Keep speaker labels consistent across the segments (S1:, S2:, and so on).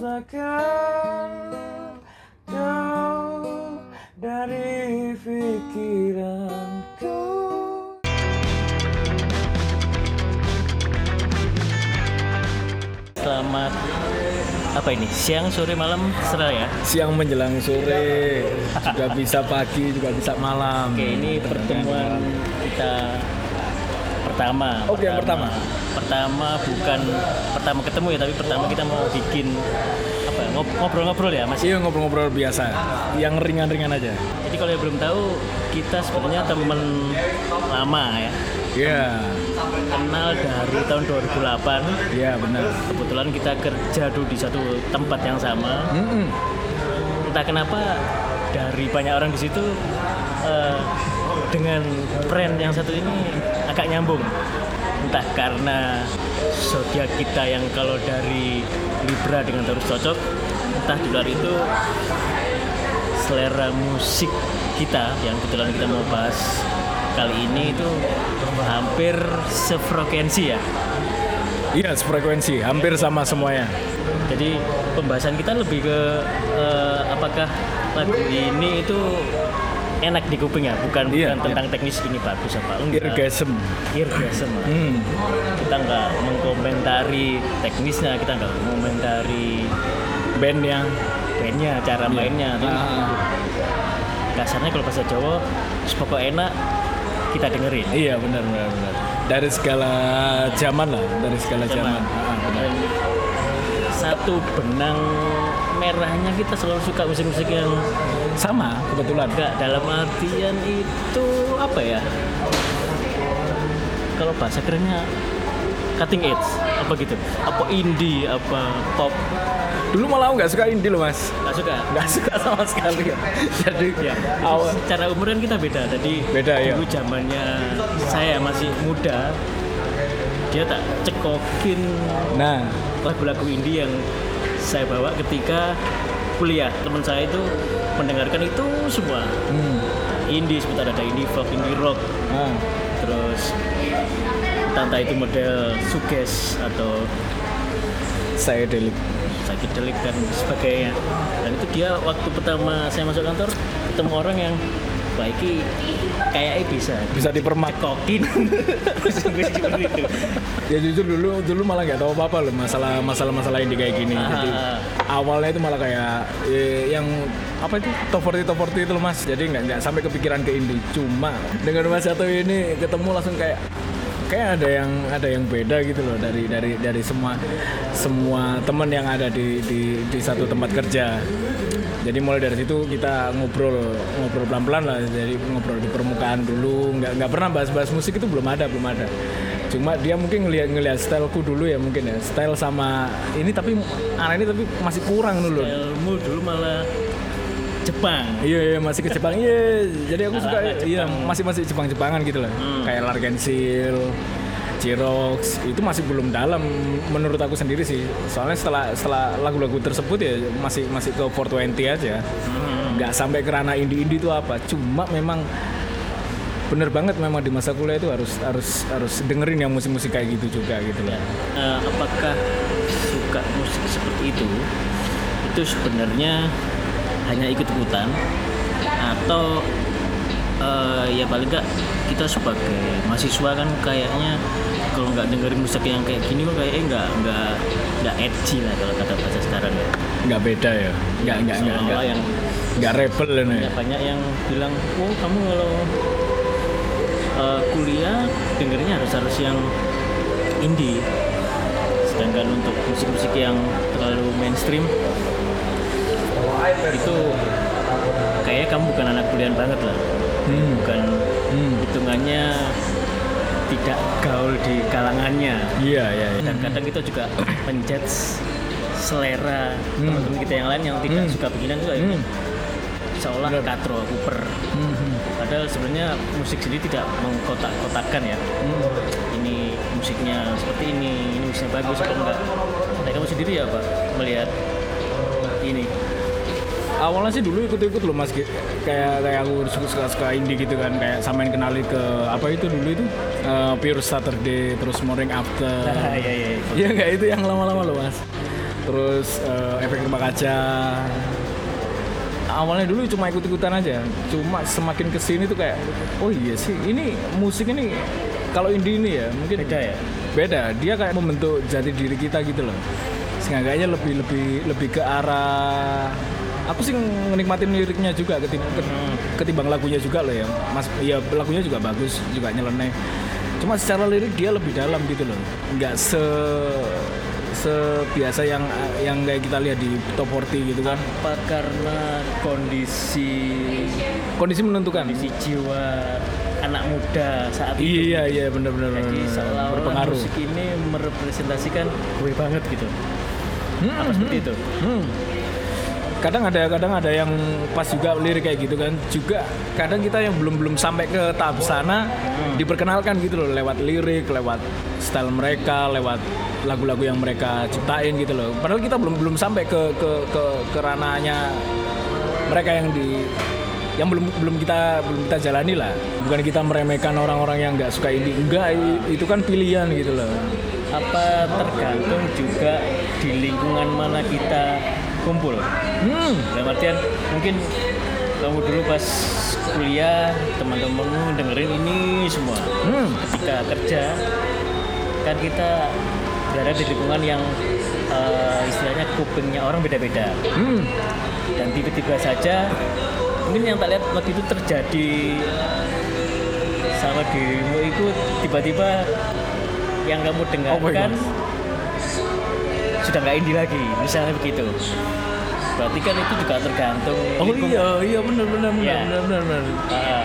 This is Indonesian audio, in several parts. S1: rasakan jauh dari pikiranku
S2: Selamat apa ini? Siang, sore, malam, serah ya.
S1: siang menjelang sore juga bisa pagi juga bisa malam
S2: Oke, ini pertemuan kita pertama.
S1: Oke, Oh, yang pertama.
S2: Pertama bukan pertama ketemu ya, tapi pertama kita mau bikin apa? ya, ngob- Ngobrol-ngobrol ya, Mas.
S1: Iya ngobrol-ngobrol biasa, yang ringan-ringan aja.
S2: Jadi kalau yang belum tahu, kita sebenarnya teman lama ya.
S1: Iya,
S2: Kenal dari tahun 2008.
S1: iya benar.
S2: Kebetulan kita kerja dulu di satu tempat yang sama.
S1: Mm-mm.
S2: entah kenapa dari banyak orang di situ eh, dengan brand yang satu ini agak nyambung entah karena zodiak kita yang kalau dari Libra dengan terus cocok entah di luar itu selera musik kita yang kebetulan kita mau bahas kali ini itu hampir sefrekuensi ya
S1: Iya, sefrekuensi, hampir sama semuanya.
S2: jadi pembahasan kita lebih ke eh, apakah lagu ini itu enak di kuping ya, bukan
S1: Iya,
S2: bukan
S1: iya.
S2: tentang teknis ini bagus apa enggak.
S1: Irgasm.
S2: Irgasm lah.
S1: Hmm.
S2: Kita nggak mengkomentari teknisnya, kita nggak mengomentari
S1: Band yang
S2: bandnya, cara mainnya. Tapi
S1: Iya. Ah,
S2: Dasarnya kalau bahasa Jawa, sepokok enak kita dengerin.
S1: iya benar benar benar. Dari segala zaman lah, dari segala zaman. Ah, benar.
S2: Dan satu benang merahnya kita selalu suka musik-musik yang
S1: Ah, Sama kebetulan.
S2: Enggak, dalam artian itu apa ya? Kalau bahasa kerennya cutting edge, apa gitu? Apa indie, apa pop?
S1: Dulu malah nggak suka indie loh mas,
S2: Nggak suka.
S1: nggak suka sama sekali. Jadi
S2: Ya,
S1: awal
S2: secara umur kan kita beda. Jadi
S1: Beda, ya.
S2: dulu zamannya saya masih muda, dia tak cekokin
S1: Nah,
S2: lagu-lagu indie yang saya bawa ketika kuliah. Teman saya itu mendengarkan itu semua.
S1: hmm.
S2: Indie sebentar ada indie folk, indie rock,
S1: Ah,
S2: terus tanta itu model suges atau
S1: saya delik.
S2: psychedelic dan sebagainya dan itu dia waktu pertama saya masuk kantor ketemu orang yang wah iki kayaknya bisa
S1: Bisa dipermak.
S2: kokin seperti itu
S1: Ya jujur dulu dulu malah nggak tahu apa-apa loh masalah masalah masalah ini kayak gini.
S2: Ah.
S1: Jadi awalnya itu malah kayak eh, yang apa itu top 40 top 40 itu loh mas. Jadi nggak nggak sampai kepikiran ke indie. Cuma dengan mas satu ini ketemu langsung kayak kayak ada yang ada yang beda gitu loh dari dari dari semua semua teman yang ada di, di di satu tempat kerja. Jadi mulai dari situ kita ngobrol ngobrol pelan-pelan lah. Jadi ngobrol di permukaan dulu. Nggak nggak pernah bahas-bahas musik itu belum ada belum ada. Cuma dia mungkin ngelihat ngelihat styleku dulu ya mungkin ya. Style sama ini tapi anak ini tapi masih kurang dulu.
S2: ilmu dulu malah Jepang
S1: Iya, iya masih ke Jepang. Iya, jadi aku suka
S2: Anak-anak
S1: iya masih masih Jepang-Jepangan gitu lah. Kayak Largensil, Cirox itu masih belum dalam menurut aku sendiri sih. Soalnya setelah setelah lagu-lagu tersebut ya masih masih ke 420 aja. Nggak sampai ke ranah indie-indie itu apa. Cuma memang bener banget memang di masa kuliah itu harus harus harus dengerin yang musik-musik kayak gitu juga gitu loh.
S2: Eh, apakah suka musik seperti itu itu sebenarnya hanya ikut ikutan atau eh, ya paling nggak kita sebagai mahasiswa kan kayaknya kalau nggak dengerin musik yang kayak gini kok kayaknya nggak nggak nggak edgy lah kalau kata bahasa sekarang ya
S1: Nggak beda ya. Nggak nggak nggak nggak.
S2: Seolah-olah ya. yang
S1: Nggak rebel ini.
S2: ya, banyak yang bilang oh kamu kalau eh, kuliah dengernya harus harus yang indie sedangkan untuk musik-musik yang terlalu mainstream itu kayaknya kamu bukan anak kuliahan banget lah
S1: Hmm.
S2: bukan
S1: Hmm.
S2: hitungannya tidak gaul di kalangannya
S1: Iya, iya, iya.
S2: dan kadang kita juga menjudge selera teman-teman kita yang lain yang tidak suka beginian tuh kayak
S1: Hmm.
S2: seolah katro Cooper
S1: Hmm.
S2: padahal sebenarnya musik sendiri tidak mengkotak-kotakan ya ini musiknya seperti ini ini musiknya bagus atau enggak nah, kamu sendiri ya pak melihat ini
S1: awalnya sih dulu ikut-ikut loh mas Ki- kayak kayak aku suka suka, suka indie gitu kan kayak samain kenali ke apa itu dulu itu Eh, Pure Saturday terus Morning After
S2: ya ya
S1: Iya nggak itu yang lama-lama loh mas terus eh, efek rumah kaca awalnya dulu cuma ikut-ikutan aja cuma semakin kesini tuh kayak oh iya sih ini musik ini kalau indie ini ya mungkin
S2: Beda ya?
S1: beda dia kayak membentuk jati diri kita gitu loh seenggaknya lebih lebih lebih ke arah aku sih menikmati liriknya juga ketimbang, ketimbang lagunya juga loh ya mas ya lagunya juga bagus juga nyeleneh cuma secara lirik dia lebih dalam gitu loh nggak se sebiasa yang yang kayak kita lihat di top 40 gitu kan
S2: apa karena kondisi
S1: kondisi menentukan
S2: kondisi jiwa anak muda saat itu
S1: Iya iya benar-benar
S2: jadi seolah-olah
S1: berpengaruh.
S2: musik ini merepresentasikan gue banget gitu
S1: Hmm,
S2: apa seperti itu
S1: hmm. Kadang ada kadang ada yang pas juga lirik kayak gitu kan. Juga kadang kita yang belum belum sampai ke tahap sana diperkenalkan gitu loh lewat lirik, lewat style mereka, lewat lagu-lagu yang mereka ciptain gitu loh. Padahal kita belum belum sampai ke ke ke, ke ranahnya mereka yang di yang belum belum kita belum kita jalani lah bukan kita meremehkan orang-orang yang nggak suka ini enggak i- itu kan pilihan gitu loh
S2: apa tergantung juga di lingkungan mana kita kumpul
S1: Hmm,
S2: dalam artian mungkin kamu dulu pas kuliah teman-temanmu dengerin ini semua
S1: hmm,
S2: ketika kerja kan kita berada di lingkungan yang eh, istilahnya kupingnya orang beda-beda
S1: hmm.
S2: dan tiba-tiba saja mungkin yang tak lihat waktu itu terjadi sama dirimu itu tiba-tiba yang kamu
S1: Oh
S2: dengarkan sudah nggak indie lagi misalnya begitu berarti kan itu juga tergantung
S1: Oh
S2: lingkungan.
S1: iya, iya benar benar benar
S2: Iya.
S1: benar benar. benar.
S2: Ah,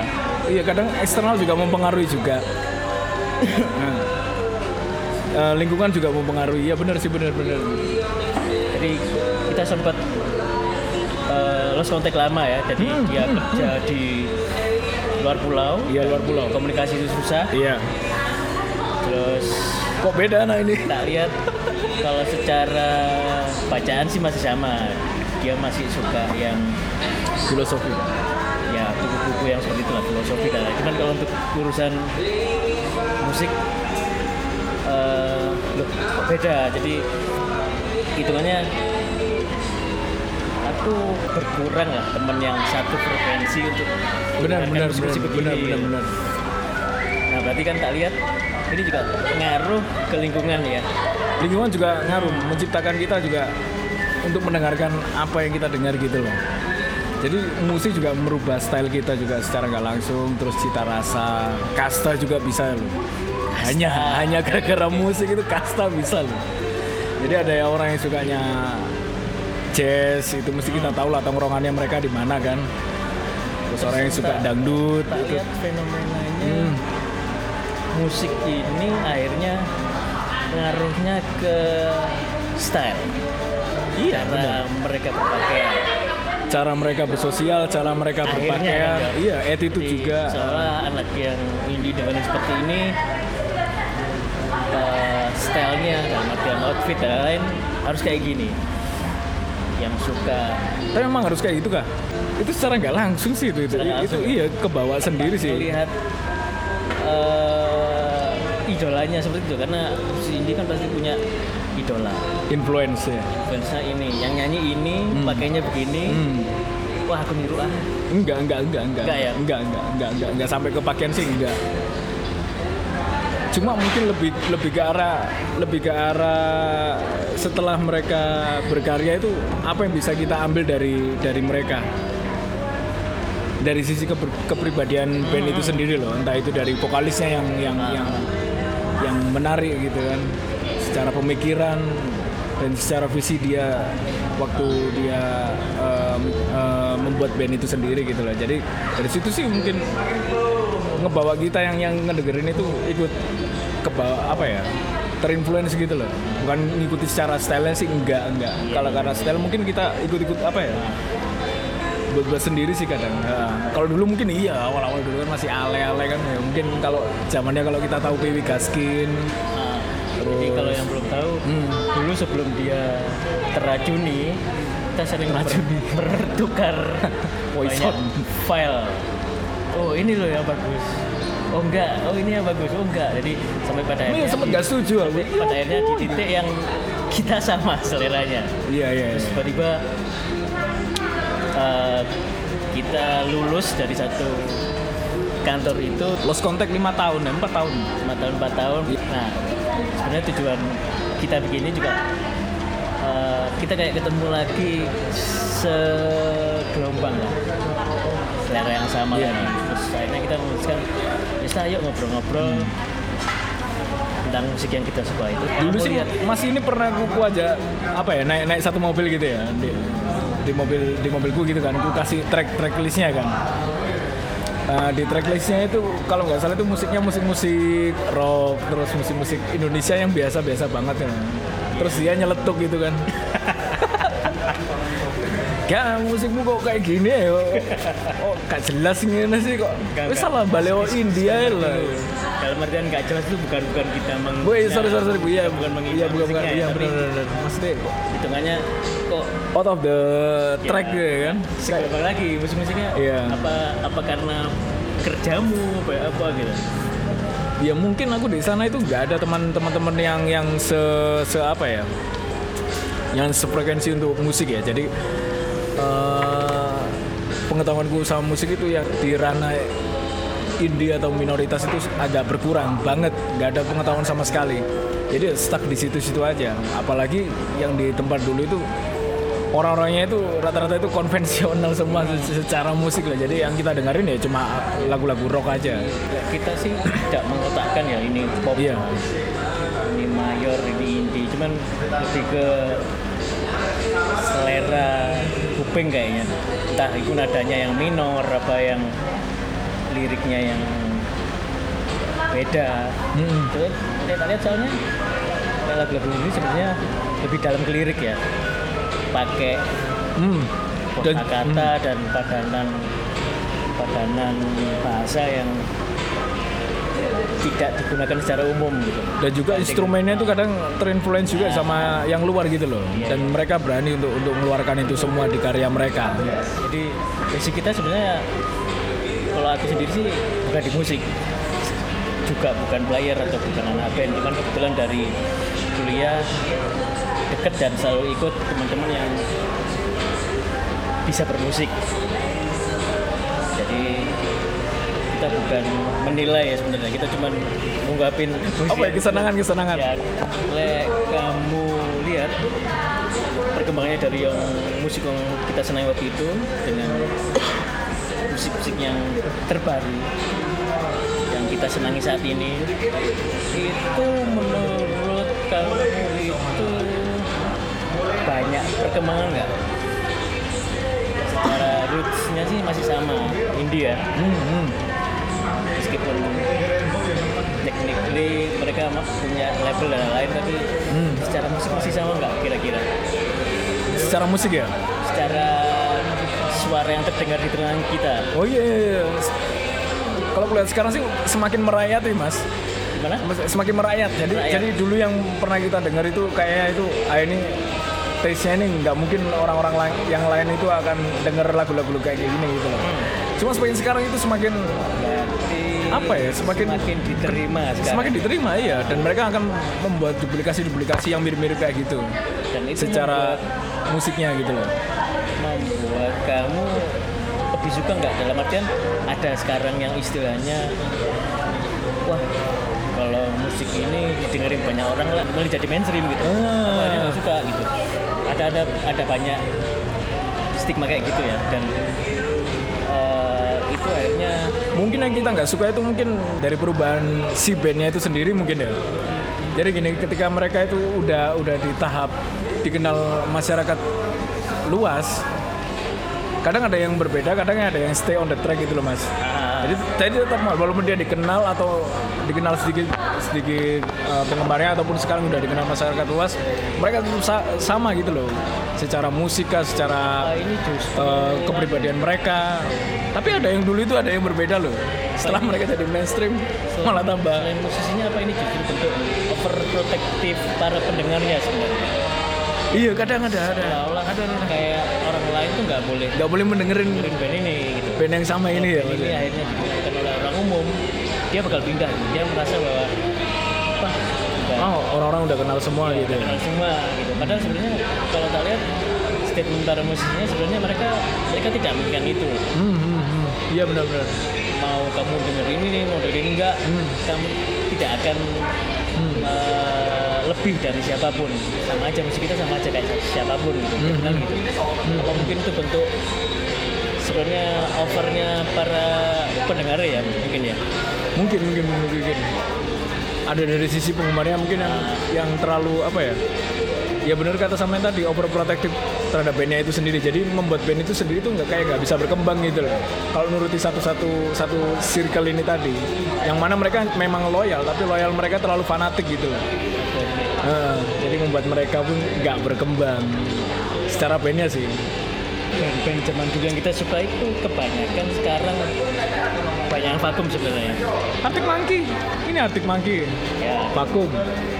S1: Iya, kadang eksternal juga mempengaruhi juga. Nah. Eh, lingkungan juga mempengaruhi. Iya benar sih benar benar.
S2: jadi kita sempat eh, lost kontak lama ya jadi
S1: Hmm,
S2: dia
S1: hmm,
S2: kerja di luar pulau
S1: Iya luar pulau.
S2: komunikasi itu susah
S1: Iya.
S2: terus
S1: Kok beda nah ini?
S2: tak lihat kalau secara bacaan sih masih sama dia masih suka yang
S1: Filosofi.
S2: ya buku-buku yang seperti itulah filosofi dan lain. cuman kalau untuk urusan musik eh loh, kok beda jadi hitungannya aku berkurang lah teman yang satu frekuensi untuk
S1: Benar
S2: mendengarkan
S1: benar benar
S2: musik-musik
S1: benar
S2: begini.
S1: benar benar.
S2: nah berarti kan tak lihat ini juga ngaruh ke lingkungan ya
S1: Lingkungan juga ngaruh menciptakan kita juga untuk mendengarkan apa yang kita dengar gitu loh. Jadi musik juga merubah style kita juga secara nggak langsung, terus cita rasa, kasta juga bisa loh. Hanya hanya gara-gara musik itu kasta bisa loh. Jadi ada ya orang yang sukanya jazz itu mesti
S2: Hmm.
S1: kita tahu lah tongkrongannya mereka di mana kan. Terus orang yang suka dangdut
S2: tak
S1: itu.
S2: lihat fenomenanya
S1: Hmm,
S2: musik ini akhirnya ngaruhnya ke style
S1: Iya,
S2: cara mereka berpakaian
S1: cara mereka bersosial, cara mereka
S2: Akhirnya
S1: berpakaian,
S2: ada.
S1: iya attitude
S2: Jadi,
S1: juga.
S2: seolah anak yang indie dengan seperti ini eh, stylenya dalam artian outfit dan lain harus kayak gini yang suka
S1: Tapi memang harus kayak gitu kah? Itu secara nggak langsung sih itu itu,
S2: Secara nggak
S1: itu
S2: langsung. ya?
S1: iya kebawa sendiri sih.
S2: melihat eh, idolanya seperti itu karena si indie kan pasti punya idola
S1: Influence ya.
S2: fansnya ini yang nyanyi ini pakainya begini
S1: Hmm.
S2: wah aku niru ah
S1: Enggak, enggak, enggak, enggak.
S2: Enggak ya?
S1: Enggak, enggak, enggak, enggak, enggak sampai ke pakaian sih enggak. Cuma mungkin lebih lebih ke arah lebih ke arah setelah mereka berkarya itu apa yang bisa kita ambil dari dari mereka? Dari sisi keber- kepribadian band itu sendiri loh, entah itu dari vokalisnya yang yang yang yang menarik gitu kan. Secara pemikiran dan secara visi dia waktu dia um, um, membuat band itu sendiri gitu loh. Jadi dari situ sih mungkin ngebawa kita yang yang ngedengerin itu ikut ke apa ya terinfluence gitu loh bukan ngikuti secara style sih enggak enggak kalau karena style mungkin kita ikut-ikut apa ya buat buat sendiri sih kadang Ya. kalau dulu mungkin iya awal-awal dulu kan masih ale-ale kan ya mungkin kalau zamannya kalau kita tahu Piwi Gaskin
S2: Ah, jadi
S1: Terus.
S2: kalau yang belum tahu
S1: Hmm.
S2: dulu sebelum dia teracuni kita sering
S1: Teracuni.
S2: ber- bertukar
S1: Poison.
S2: banyak file oh ini loh yang ya, bagus oh enggak oh ini yang bagus oh enggak jadi sampai pada
S1: Ini
S2: akhirnya
S1: Iya, sempet gak setuju aku.
S2: pada akhirnya di titik yang kita sama seleranya
S1: Iya iya.
S2: terus
S1: iya.
S2: tiba-tiba eh, kita lulus dari satu kantor itu
S1: Lost contact 5 tahun, 4 tahun.
S2: 5 tahun 4 tahun nah sebenarnya tujuan kita begini juga eh, kita kayak ketemu lagi segelombang lah selera yang sama
S1: Iya.
S2: lah terus akhirnya kita memutuskan bisa ayo ngobrol-ngobrol
S1: Hmm.
S2: tentang musik yang kita suka itu
S1: Dulu
S2: Aku
S1: sih
S2: lihat
S1: Mas ini pernah kuku aja apa ya naik naik satu mobil gitu ya di, di mobil di mobilku gitu kan. Ku kasih track track listnya kan. Eh, di track listnya itu kalau nggak salah itu musiknya musik-musik rock terus musik-musik Indonesia yang biasa-biasa banget ya. Terus dia nyeletuk gitu kan. Ya musikmu kok kayak gini ya Oh gak jelas gini sih kok
S2: Gak,
S1: Wih
S2: gak.
S1: salah baleo India ya lah
S2: dalam artian nggak jelas itu bukan bukan kita meng Nah,
S1: Woi sorry sorry sorry Bu. Iya
S2: bukan mengikuti
S1: Iya bukan bukan
S2: musiknya, ya,
S1: Iya
S2: tapi
S1: benar benar benar. Maksudnya
S2: hitungannya kok
S1: out of the
S2: Ya.
S1: track gitu ya kan
S2: segelombang lagi musik-musiknya
S1: Iya.
S2: apa apa karena kerjamu apa apa gitu
S1: Ya mungkin aku di sana itu nggak ada teman-teman yang yang se, se apa ya yang sefrekuensi untuk musik ya jadi eh, pengetahuanku sama musik itu yang di ranah indie atau minoritas itu agak berkurang banget nggak ada pengetahuan sama sekali jadi stuck di situ-situ aja apalagi yang di tempat dulu itu orang-orangnya itu rata-rata itu konvensional semua se- secara musik lah jadi yang kita dengerin ya cuma lagu-lagu rock aja
S2: Ya, kita sih tidak mengotakkan ya ini pop
S1: Iya.
S2: ini mayor ini indie cuman lebih ke selera kuping kayaknya entah itu nadanya yang minor apa yang liriknya yang beda
S1: Mm-mm.
S2: Betul. Lihat-lihat soalnya kayak lagu-lagu ini sebenarnya lebih dalam ke lirik ya. Pakai
S1: Hmm. Dan hmm.
S2: kata dan padanan padanan bahasa yang tidak digunakan secara umum gitu.
S1: dan juga instrumennya itu kadang terinfluence juga sama yang luar gitu loh.
S2: Iya,
S1: Dan mereka berani untuk untuk mengeluarkan itu semua di karya mereka.
S2: Jadi basic kita sebenarnya kalau aku sendiri sih bukan di musik juga bukan player atau bukan anak band cuman kebetulan dari kuliah deket dan selalu ikut teman-teman yang bisa bermusik jadi kita bukan menilai ya sebenarnya kita cuman menggapin
S1: Apa ya kesenangan kesenangan?
S2: Ya, lek kamu lihat perkembangannya dari yang musik yang kita senangi waktu itu dengan musik-musik yang terbaru yang kita senangi saat ini itu menurut kamu itu banyak perkembangan nggak? Secara rootsnya sih masih sama India
S1: Hmm, hmm.
S2: meskipun technically mereka mah punya level dan lain-lain tapi
S1: Hmm.
S2: secara musik masih sama nggak kira-kira
S1: Secara musik ya.
S2: secara suara yang terdengar di telinga kita
S1: Oh iya. iya, iya. Kalau aku lihat sekarang sih semakin merayat nih mas.
S2: gimana
S1: Semakin merayat. Jadi
S2: Merayat.
S1: jadi dulu yang pernah kita dengar itu kayaknya itu ah ini taste-nya ini nggak mungkin orang-orang lain yang lain itu akan denger lagu-lagu kayak gini gitu loh.
S2: Hmm.
S1: Cuma semakin sekarang itu semakin
S2: berarti
S1: Apa ya, semakin-
S2: diterima sekarang
S1: semakin diterima iya dan mereka akan membuat duplikasi-duplikasi yang mirip-mirip kayak gitu
S2: dan itu
S1: secara musiknya gitu loh
S2: membuat, membuat kamu lebih suka nggak dalam artian ada sekarang yang istilahnya wah kalau musik ini dengerin banyak orang lah mulai jadi mainstream gitu
S1: Ah.
S2: Ada yang suka gitu ada ada ada banyak stigma kayak gitu ya dan eh, itu akhirnya
S1: mungkin yang kita nggak suka itu mungkin dari perubahan si bandnya itu sendiri mungkin ya jadi gini ketika mereka itu udah udah di tahap dikenal masyarakat luas kadang ada yang berbeda kadang ada yang stay on the track gitu loh mas
S2: ah,
S1: jadi tadi tetap mal, walaupun dia dikenal atau dikenal sedikit sedikit eh, penggemarnya ataupun sekarang udah dikenal masyarakat luas, mereka tetap sa- sama gitu loh, secara musika, secara
S2: Ah, ini justru
S1: eh, kepribadian mereka. Tapi ada yang dulu itu ada yang berbeda loh. Setelah mereka jadi mainstream, malah tambah.
S2: selain musisinya apa ini justru bentuk overprotective para pendengarnya sebenarnya
S1: Iya kadang ada ada.
S2: seolah-olah kayak orang lain tuh nggak boleh
S1: Gak boleh mendengerin
S2: dengerin band ini gitu
S1: band yang sama ini ya.
S2: ini
S1: maksudnya.
S2: akhirnya digunakan oleh orang umum dia bakal pindah dia merasa bahwa wah udah
S1: Oh, orang-orang udah kenal semua gitu.
S2: terkenal semua gitu padahal sebenarnya kalau tak lihat statement para musisinya sebenarnya mereka mereka tidak menginginkan itu
S1: Hmm, hmm, hmm. Iya benar-benar.
S2: mau kamu denger ini nih mau dengerin enggak
S1: Hmm.
S2: kamu tidak akan
S1: Hmm.
S2: eh, lebih dari siapapun sama aja musik kita sama aja kayak siapapun gitu
S1: Hmm,
S2: Terkenal gitu apa mungkin itu bentuk sebenarnya overnya para pendengar ya mungkin ya
S1: Mungkin, mungkin, mungkin, mungkin. Ada dari sisi penggemarnya mungkin yang yang terlalu apa ya? Ya benar kata Samen tadi overprotective terhadap bandnya itu sendiri. Jadi membuat band itu sendiri tuh nggak kayak nggak bisa berkembang gitu loh. Kalau nuruti satu-satu satu circle ini tadi, yang mana mereka memang loyal, tapi loyal mereka terlalu fanatik gitu loh.
S2: ya.
S1: Eh, jadi membuat mereka pun nggak berkembang secara bandnya sih.
S2: band-band zaman dulu yang kita suka itu kebanyakan sekarang banyak yang vakum sebenarnya
S1: Arctic Monkey, ini Arctic Monkey,
S2: ya
S1: vakum.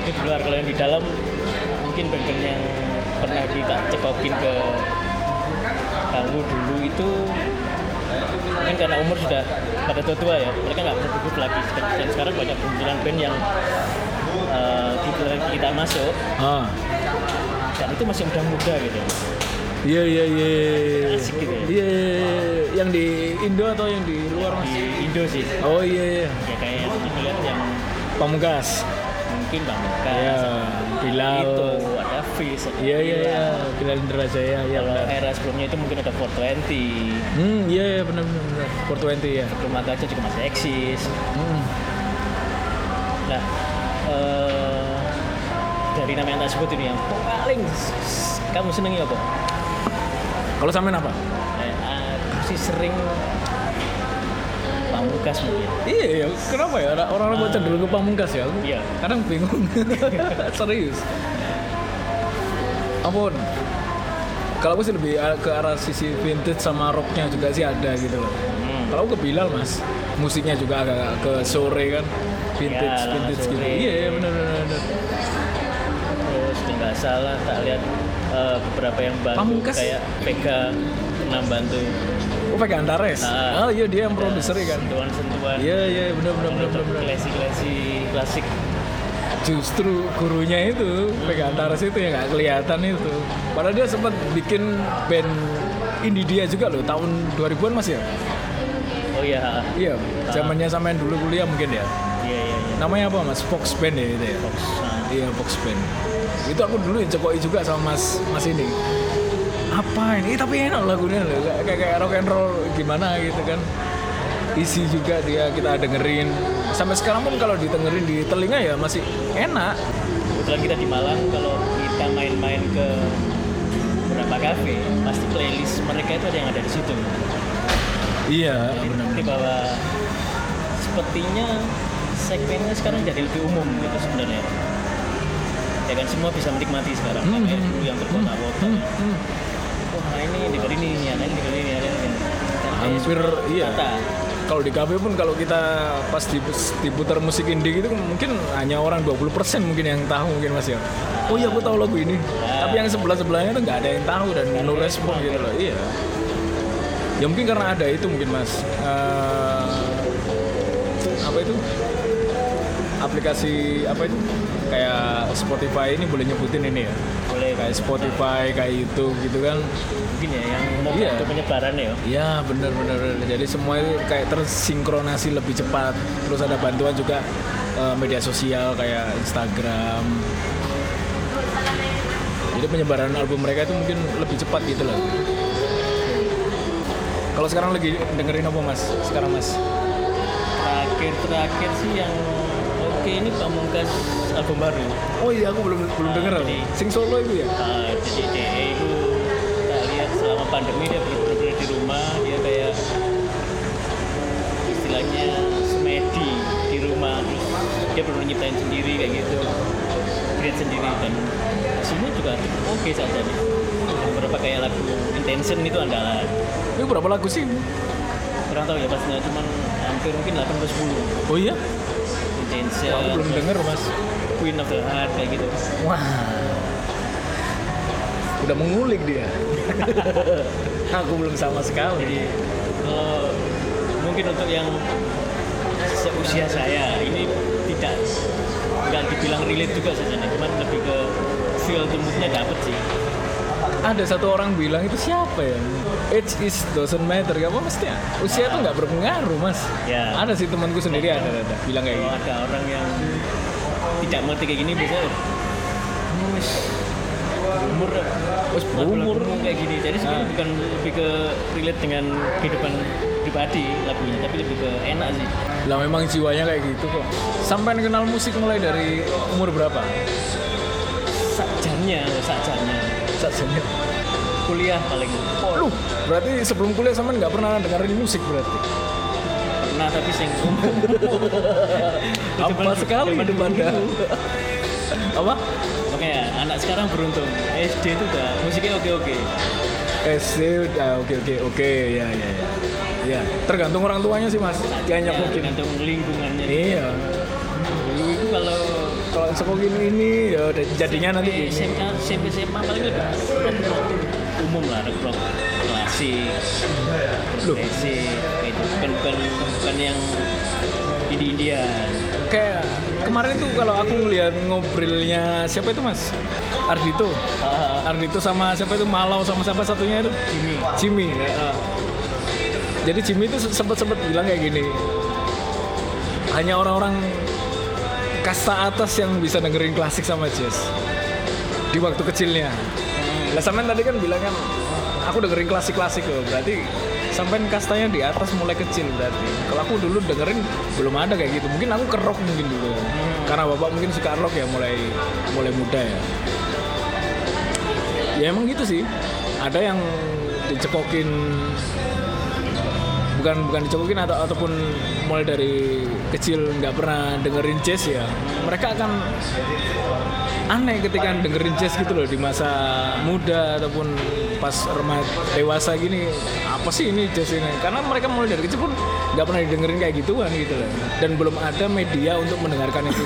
S2: itu di luar kalau yang di dalam mungkin band-band yang pernah kita cekokin ke kamu dulu itu mungkin karena umur sudah pada tua-tua ya mereka nggak berkebut lagi dan sekarang banyak kumpulan band yang eh, kita, kita masuk
S1: Ah,
S2: dan itu masih muda-muda gitu
S1: iya iya iya.
S2: Asik gitu ya.
S1: Iya, yang di Indo atau yang di luar mas?
S2: di Indo sih
S1: Oh iya, iya.
S2: ya kayak kumpulan yang
S1: Pamungkas.
S2: mungkin bang
S1: Iya, Bilal.
S2: itu ada Fizz ada
S1: Gitu. Iya iya iya, Bilal
S2: Bilal.
S1: Indrajaya, iya
S2: Kalau eh.
S1: benar.
S2: era sebelumnya itu mungkin ada 420
S1: Hmm, iya iya benar benar benar. 420 ya.
S2: rumah kaca juga masih eksis.
S1: Hmm.
S2: Nah, eh, dari nama yang tak sebut ini yang paling s- s- kamu senengi apa?
S1: Kalau Samen apa?
S2: Eh, aku sih sering pamungkas mungkin.
S1: Iya, iya. kenapa ya orang-orang kok cenderung ke pamungkas ya? Aku
S2: Ah. Iya.
S1: Kadang bingung. Serius. Ampun. Kalau aku sih lebih a- ke arah sisi vintage sama rocknya juga sih ada gitu loh.
S2: Hmm.
S1: Kalau aku ke Bilal mas, musiknya juga agak ke sore kan, vintage,
S2: Ya, lama
S1: vintage gitu.
S2: sore.
S1: Iya, iya benar benar. benar.
S2: Terus nggak salah tak lihat eh, beberapa yang bantu
S1: Pamungkas?
S2: kayak PK pernah bantu
S1: Oh pakai Antares.
S2: Ah.
S1: oh iya dia yang produser kan.
S2: sentuhan-sentuhan.
S1: Iya iya benar benar benar benar. benar.
S2: Klasi-klasi klasik.
S1: justru gurunya itu pegang Antares itu yang nggak kelihatan itu padahal dia sempat bikin band indie dia juga loh tahun 2000-an masih ya
S2: Oh iya, ha.
S1: iya zamannya sampean dulu kuliah mungkin ya
S2: iya iya. iya.
S1: namanya apa mas Fox Band ya itu ya
S2: Box, nah.
S1: iya Fox Band itu aku dulu yang cekoi juga sama mas mas ini apa ini Eh, tapi enak lagunya loh kayak kayak- kayak rock and roll gimana gitu kan isi juga dia kita dengerin sampai sekarang pun kalau didengerin di telinga ya masih enak
S2: Kebetulan kita di Malang kalau kita main-main ke beberapa kafe, pasti playlist mereka itu ada yang ada di situ.
S1: iya
S2: Jadi nanti bahwa sepertinya segmennya sekarang jadi lebih umum gitu sebenarnya. Ya kan semua bisa menikmati sekarang.
S1: Hmm,
S2: Yang kayak dulu yang terkota-kota. Wah nah ini dengerin ini, yang lain dengerin ini, yang lain dengerin ini. Dan kayaknya
S1: hampir
S2: semua
S1: iya
S2: rata.
S1: kalau di kafe pun kalau kita pas dipu- diputar musik indie gitu mungkin hanya orang 20% mungkin yang tahu mungkin Mas ya. Oh iya aku tahu lagu ini. Tapi yang sebelah-sebelahnya tuh nggak ada yang tahu dan no respon gitu loh. Iya. Ya mungkin karena ada itu mungkin Mas. Eh, apa itu? Aplikasi apa itu? Kayak Spotify ini boleh nyebutin ini ya.
S2: Boleh
S1: Kayak Spotify, kayak YouTube gitu kan.
S2: mungkin ya yang mau
S1: Iya.
S2: untuk penyebaran ya.
S1: Ya benar benar benar. jadi semua itu kayak tersinkronasi lebih cepat terus ada bantuan juga eh, media sosial kayak Instagram jadi penyebaran album mereka itu mungkin lebih cepat gitu loh kalau sekarang lagi dengerin apa mas sekarang mas
S2: Terakhir terakhir sih yang oke ini pamungkas album baru.
S1: oh iya aku belum belum denger
S2: Jadi-
S1: sing solo itu ya
S2: Uh, jadi DE itu kita lihat selama pandemi dia bener-bener di rumah dia kayak istilahnya semedi di rumah terus dia perlu nyiptain sendiri kayak gitu create sendiri dan hasilnya juga cukup oke saja nih beberapa kayak lagu intention itu andalan
S1: ini berapa lagu sih
S2: kurang tahu ya pastinya cuman hampir mungkin 8 ke 10
S1: oh iya
S2: intention
S1: aku belum
S2: terus
S1: denger mas
S2: Queen of the Heart kayak gitu
S1: wah udah mengulik dia aku belum sama sekali
S2: Jadi kalau mungkin untuk yang seusia saya ini tidak nggak dibilang relate juga sebenarnya cuman lebih ke feel to moodnya dapet sih
S1: ada satu orang bilang itu siapa ya age is doesn't matter Ya, apa mestinya usia itu nggak berpengaruh mas
S2: Ya.
S1: ada sih temanku sendiri ada, ada bilang kayak
S2: kalau
S1: gitu
S2: ada orang yang tidak mengerti kayak gini biasanya "Kamu wis umur
S1: Wes berumur
S2: umur kayak gini jadi sebenarnya bukan lebih ke relate dengan kehidupan pribadi lagunya tapi lebih ke enak sih
S1: lah memang jiwanya kayak gitu kok sampai kenal musik mulai dari umur berapa
S2: sajarnya sajarnya
S1: saat senior
S2: kuliah paling
S1: Loh, berarti sebelum kuliah sama nggak pernah dengerin musik berarti
S2: pernah tapi sing umum
S1: apa sekali hidup anda apa
S2: Makanya ya, anak sekarang beruntung SD itu udah musiknya oke oke.
S1: SD udah Eh, oke oke oke ya ya ya ya tergantung orang tuanya sih mas banyak mungkin
S2: Tergantung lingkungannya.
S1: Ya, iya
S2: Dulu itu kalau
S1: kalau sekolah gini ini ya udah jadinya nanti
S2: eh,
S1: gini
S2: SMK, SMP, SMA paling lebih rock rock umum lah rock rock klasik,
S1: Loh.
S2: progresif, gitu. Bukan bukan bukan yang India India.
S1: kayak kemarin tuh kalau aku lihat ngobrolnya siapa itu mas Ardito Ardito sama siapa itu Malau sama siapa satunya itu
S2: Jimmy.
S1: Jimmy ya. jadi Jimmy itu sempet-sempet bilang kayak gini hanya orang-orang kasta atas yang bisa dengerin klasik sama jazz di waktu kecilnya lah sampean tadi kan bilang kan aku dengerin klasik-klasik loh berarti sampean kastanya di atas mulai kecil berarti kalau aku dulu dengerin belum ada kayak gitu mungkin aku kerok mungkin dulu karena bapak mungkin suka rock ya mulai mulai muda ya ya emang gitu sih ada yang dicekokin bukan bukan dicekokin atau ataupun mulai dari kecil nggak pernah dengerin jazz ya mereka akan aneh ketika dengerin jazz gitu loh di masa muda ataupun pas remaja dewasa gini apa sih ini jazz ini karena mereka mulai dari kecil pun nggak pernah didengerin kayak gituan gitu loh dan belum ada media untuk mendengarkan itu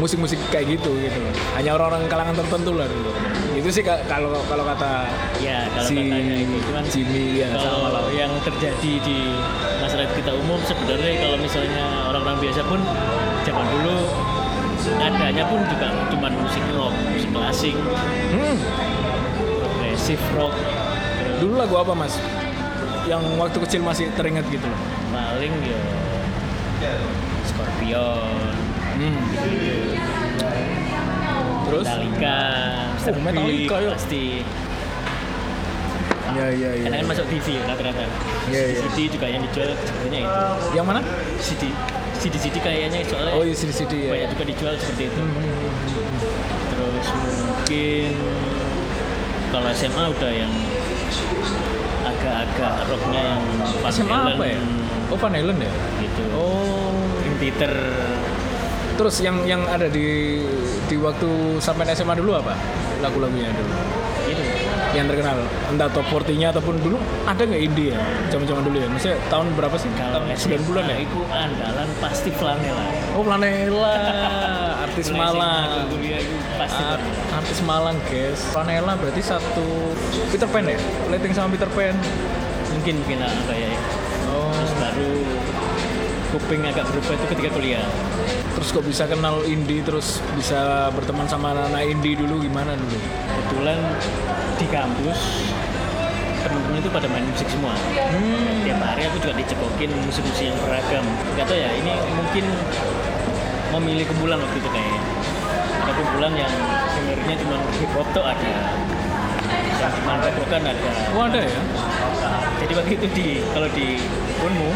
S1: musik-musik kayak gitu gitu loh hanya orang-orang kalangan tertentu lah dulu itu sih ka- kalau kalau kata
S2: Ya kalau
S1: Si
S2: katanya itu cuman
S1: Jimmy, ya, sama
S2: kalau
S1: lah.
S2: yang terjadi di masyarakat kita umum sebenarnya kalau misalnya orang-orang biasa pun zaman dulu adanya pun juga cuman musik rock, musik klasik,
S1: hmm,
S2: progresif rock, terus
S1: dulu lagu apa mas yang waktu kecil masih teringat gitu loh
S2: paling ya Scorpion,
S1: hmm. terus
S2: Metallica, Mr. Big,
S1: Metallica, ya.
S2: pasti.
S1: ya ya ya
S2: Karena kan masuk TV ya rata-rata.
S1: Iya, iya.
S2: CD juga yang dijual sebenarnya itu.
S1: yang mana
S2: CD, CD, CD kayaknya soalnya
S1: oh iya CD CD ya
S2: banyak juga dijual seperti itu.
S1: Hmm.
S2: Terus mungkin kalau SMA udah yang agak-agak rocknya yang Van
S1: SMA apa
S2: Halen
S1: ya oh Van Halen ya
S2: gitu.
S1: oh
S2: Dream Theater
S1: terus yang yang ada di di waktu sampai SMA dulu apa lagu-lagunya dulu
S2: gitu.
S1: yang terkenal entah top 40-nya ataupun dulu ada nggak indie ya zaman-zaman dulu ya maksudnya tahun berapa sih
S2: Kalau
S1: tahun 9 bulan ya
S2: itu andalan pasti flanela.
S1: oh Planela artis
S2: Mulai SMA ke
S1: Malang
S2: kuliah itu pasti
S1: Ar-
S2: Flanela.
S1: artis Malang guys Planela berarti satu Peter Pan ya Lighting sama Peter Pan
S2: mungkin mungkin lah kayak ya.
S1: oh
S2: Terus baru kuping agak berubah itu ketika kuliah.
S1: terus kok bisa kenal indie terus bisa berteman sama anak-anak indie dulu gimana dulu
S2: Kebetulan di kampus temen-temen itu pada main musik semua.
S1: hmm.
S2: tiap hari aku juga dicekokin musik-musik yang beragam gak tau ya ini mungkin memilih kumpulan waktu itu kayaknya ada kumpulan yang dengernya cuma hip hop tuh ada yang cuma rock-rockan ada
S1: oh ada ya
S2: jadi waktu itu di kalau di Unmu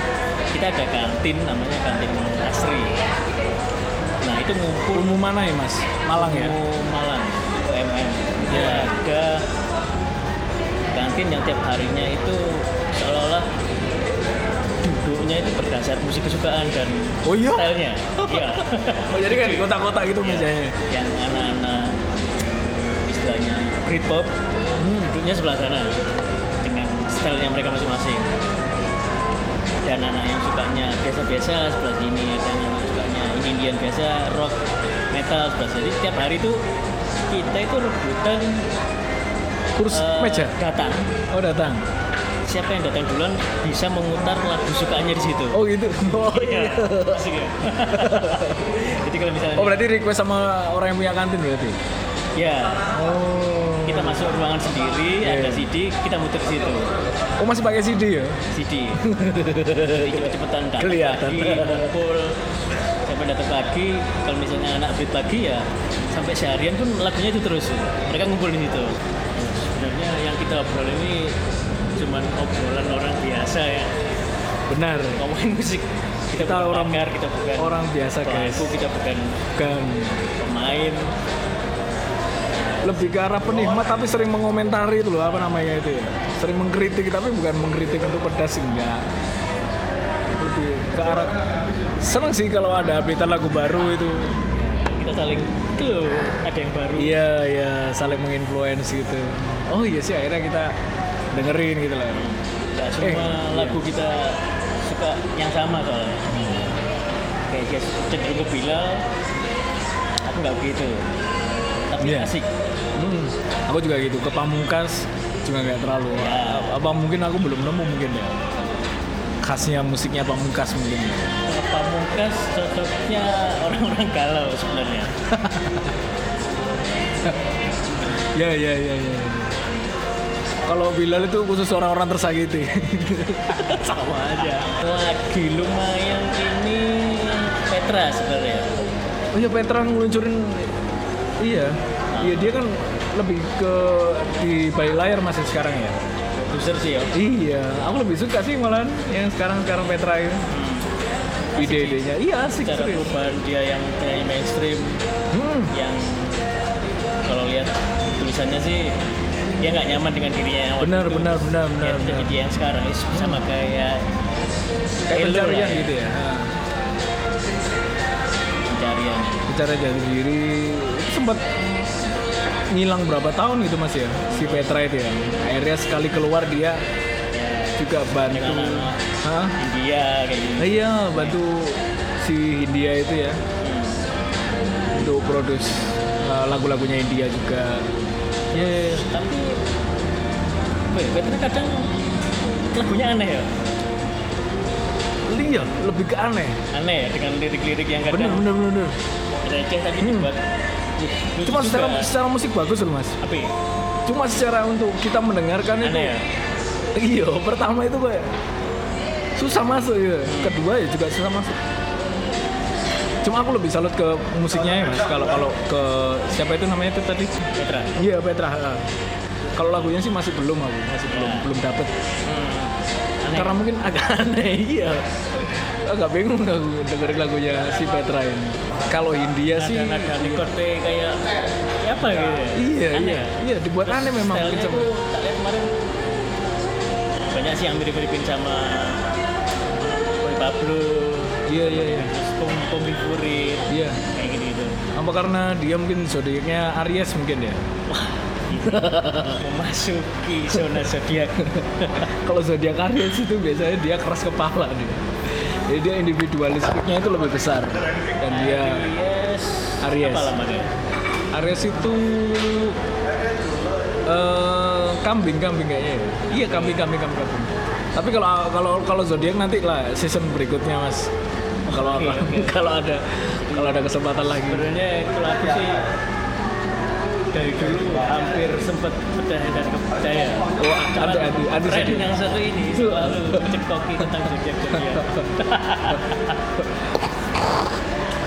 S2: kita ada kantin namanya kantin Asri nah itu ngumpul
S1: Unmu mana ya mas Malang ya
S2: Unmu Malang UMM ya
S1: Ya.
S2: ada kantin yang tiap harinya itu seolah-olah duduknya itu berdasar musik kesukaan dan
S1: oh iya
S2: stylenya iya
S1: oh, jadi kayak di kota-kota gitu mejanya
S2: yang anak-anak istilahnya Britpop
S1: Hmm.
S2: hmm, duduknya sebelah sana dengan stylenya mereka masing-masing dan anak yang sukanya biasa-biasa sebelah sini dan anak yang sukanya Indian biasa rock metal sebelah sini setiap hari itu kita itu rebutan
S1: kurus
S2: eh,
S1: meja
S2: datang
S1: oh datang
S2: siapa yang datang duluan bisa memutar lagu sukaannya di situ.
S1: Oh gitu. Oh
S2: Iya,
S1: iya.
S2: asik ya. Jadi kalau misalnya
S1: Oh berarti request sama orang yang punya kantin berarti.
S2: ya
S1: Oh.
S2: kita masuk ruangan sendiri,
S1: Iya.
S2: ada CD, kita muter di situ.
S1: Oh masih pakai CD ya?
S2: CD. Cepet-cepetan datang
S1: Kelihatan.
S2: pagi, kan? Iya, kumpul sampai datang pagi. Kalau misalnya anak beat pagi ya sampai seharian pun lagunya itu terus. Mereka ngumpul di situ. Sebenarnya yang kita obrol ini cuman obrolan orang biasa ya.
S1: Benar.
S2: Ngomongin musik. Kita,
S1: Kita
S2: bukan
S1: orang-
S2: pakar, kita bukan
S1: Orang biasa guys.
S2: pelaku, kita bukan
S1: Bukan.
S2: pemain.
S1: Lebih ke arah penikmat tapi sering mengomentari itu loh apa namanya itu ya. Sering mengkritik tapi bukan mengkritik untuk pedas enggak. Lebih ke arah seneng sih kalau ada update lagu baru itu.
S2: Kita saling itu loh, ada yang baru.
S1: Iya iya saling menginfluence gitu. Oh iya sih akhirnya kita dengerin gitu lah.
S2: Gak semua
S1: Eh,
S2: lagu kita suka yang sama soalnya.
S1: Hmm.
S2: Kayak guys, cenderung ke Bilal, aku nggak begitu. Tapi
S1: Iya.
S2: asik.
S1: Hmm, aku juga gitu ke pamungkas juga nggak terlalu.
S2: Ya.
S1: Apa mungkin aku belum nemu mungkin ya. Khasnya musiknya pamungkas mungkin. ya.
S2: Kalau Pamungkas cocoknya orang-orang galau sebenarnya.
S1: Ya ya ya ya. ya. Kalau Bilal itu khusus orang-orang tersakiti.
S2: sama aja. Lagi lumayan ini Petra sebenarnya.
S1: oh iya Petra ngeluncurin iya.
S2: Nah.
S1: Iya dia kan lebih ke di balik layar masih sekarang ya.
S2: Produser sih ya.
S1: Iya, aku lebih suka sih malahan yang sekarang-sekarang Petra itu. Ide-idenya. Iya asik
S2: Hmm. Cara
S1: serius.
S2: perubahan dia yang penyanyi mainstream
S1: Hmm.
S2: yang kalau lihat tulisannya sih dia nggak nyaman dengan dirinya yang awal
S1: Benar,
S2: dulu.
S1: benar, benar,
S2: Ya,
S1: benar,
S2: tapi
S1: benar. Hmm.
S2: dia yang sekarang is sama kayak
S1: Kayak
S2: Elo lah
S1: pencarian
S2: ya,
S1: gitu ya. Ah.
S2: pencarian
S1: bicara jati diri itu sempat ngilang berapa tahun gitu mas ya si Petra itu ya akhirnya sekali keluar dia juga bantu
S2: Iya. Dengan anak.
S1: Hah?
S2: India kayak gitu
S1: Ah, iya bantu si India itu ya untuk produce uh, lagu-lagunya India juga ya ya, ya.
S2: tapi weh, Petra kadang lagunya aneh ya
S1: Iya, lebih ke aneh
S2: aneh ya dengan lirik-lirik yang
S1: bener
S2: kadang
S1: bener bener, bener.
S2: receh tapi
S1: Hmm.
S2: dibuat lucu
S1: cuma
S2: juga. ya.
S1: secara secara musik bagus loh mas
S2: apa ya?
S1: cuma secara untuk kita mendengarkan itu
S2: aneh ya
S1: Iya, pertama itu kayak susah masuk ya. Kedua ya juga susah masuk. Cuma aku lebih salut ke musiknya ya mas. Kalau kalau ke siapa itu namanya itu tadi?
S2: Petra
S1: Iya Petra. ha. Kalau lagunya sih masih belum aku, masih belum
S2: Ya.
S1: belum dapet.
S2: Hmm. aneh
S1: Karena mungkin agak aneh iya. Agak bingung aku dengerin lagunya si Petra ini. Kalau India sih,
S2: Nah, ada nada recordnya kayak ya apa gitu ya?
S1: iya
S2: Aneh
S1: iya
S2: ya?
S1: iya dibuat aneh memang. gitu. mungkin
S2: Stylenya
S1: sama-
S2: tuh, tak lihat kemarin banyak sih yang mirip-miripin sama Boy Pablo,
S1: Iya iya iya.
S2: terus Pom Pombi Furit,
S1: Iya.
S2: kayak gitu gitu.
S1: Apa karena dia mungkin zodiaknya Aries mungkin ya?
S2: Memasuki zona zodiak.
S1: kalau zodiak Aries itu biasanya dia keras kepala nih. Jadi dia individualistiknya itu lebih besar dan dia
S2: Aries.
S1: Aries.
S2: Apa lamanya?
S1: Aries itu eh, kambing kambing kayaknya. ya. Iya kambing kambing kambing kambing. Tapi kalau kalau kalau zodiak nanti lah season berikutnya mas. Kalau
S2: Oke, oke.
S1: kalau ada kalau ada kesempatan lagi.
S2: Sebenarnya kalau aku sih dari dulu hampir sempat percaya dan kepercaya.
S1: Oh, anti-anti, anti
S2: Tren
S1: zodiak.
S2: yang satu ini selalu cekcoki tentang zodiak-zodiak.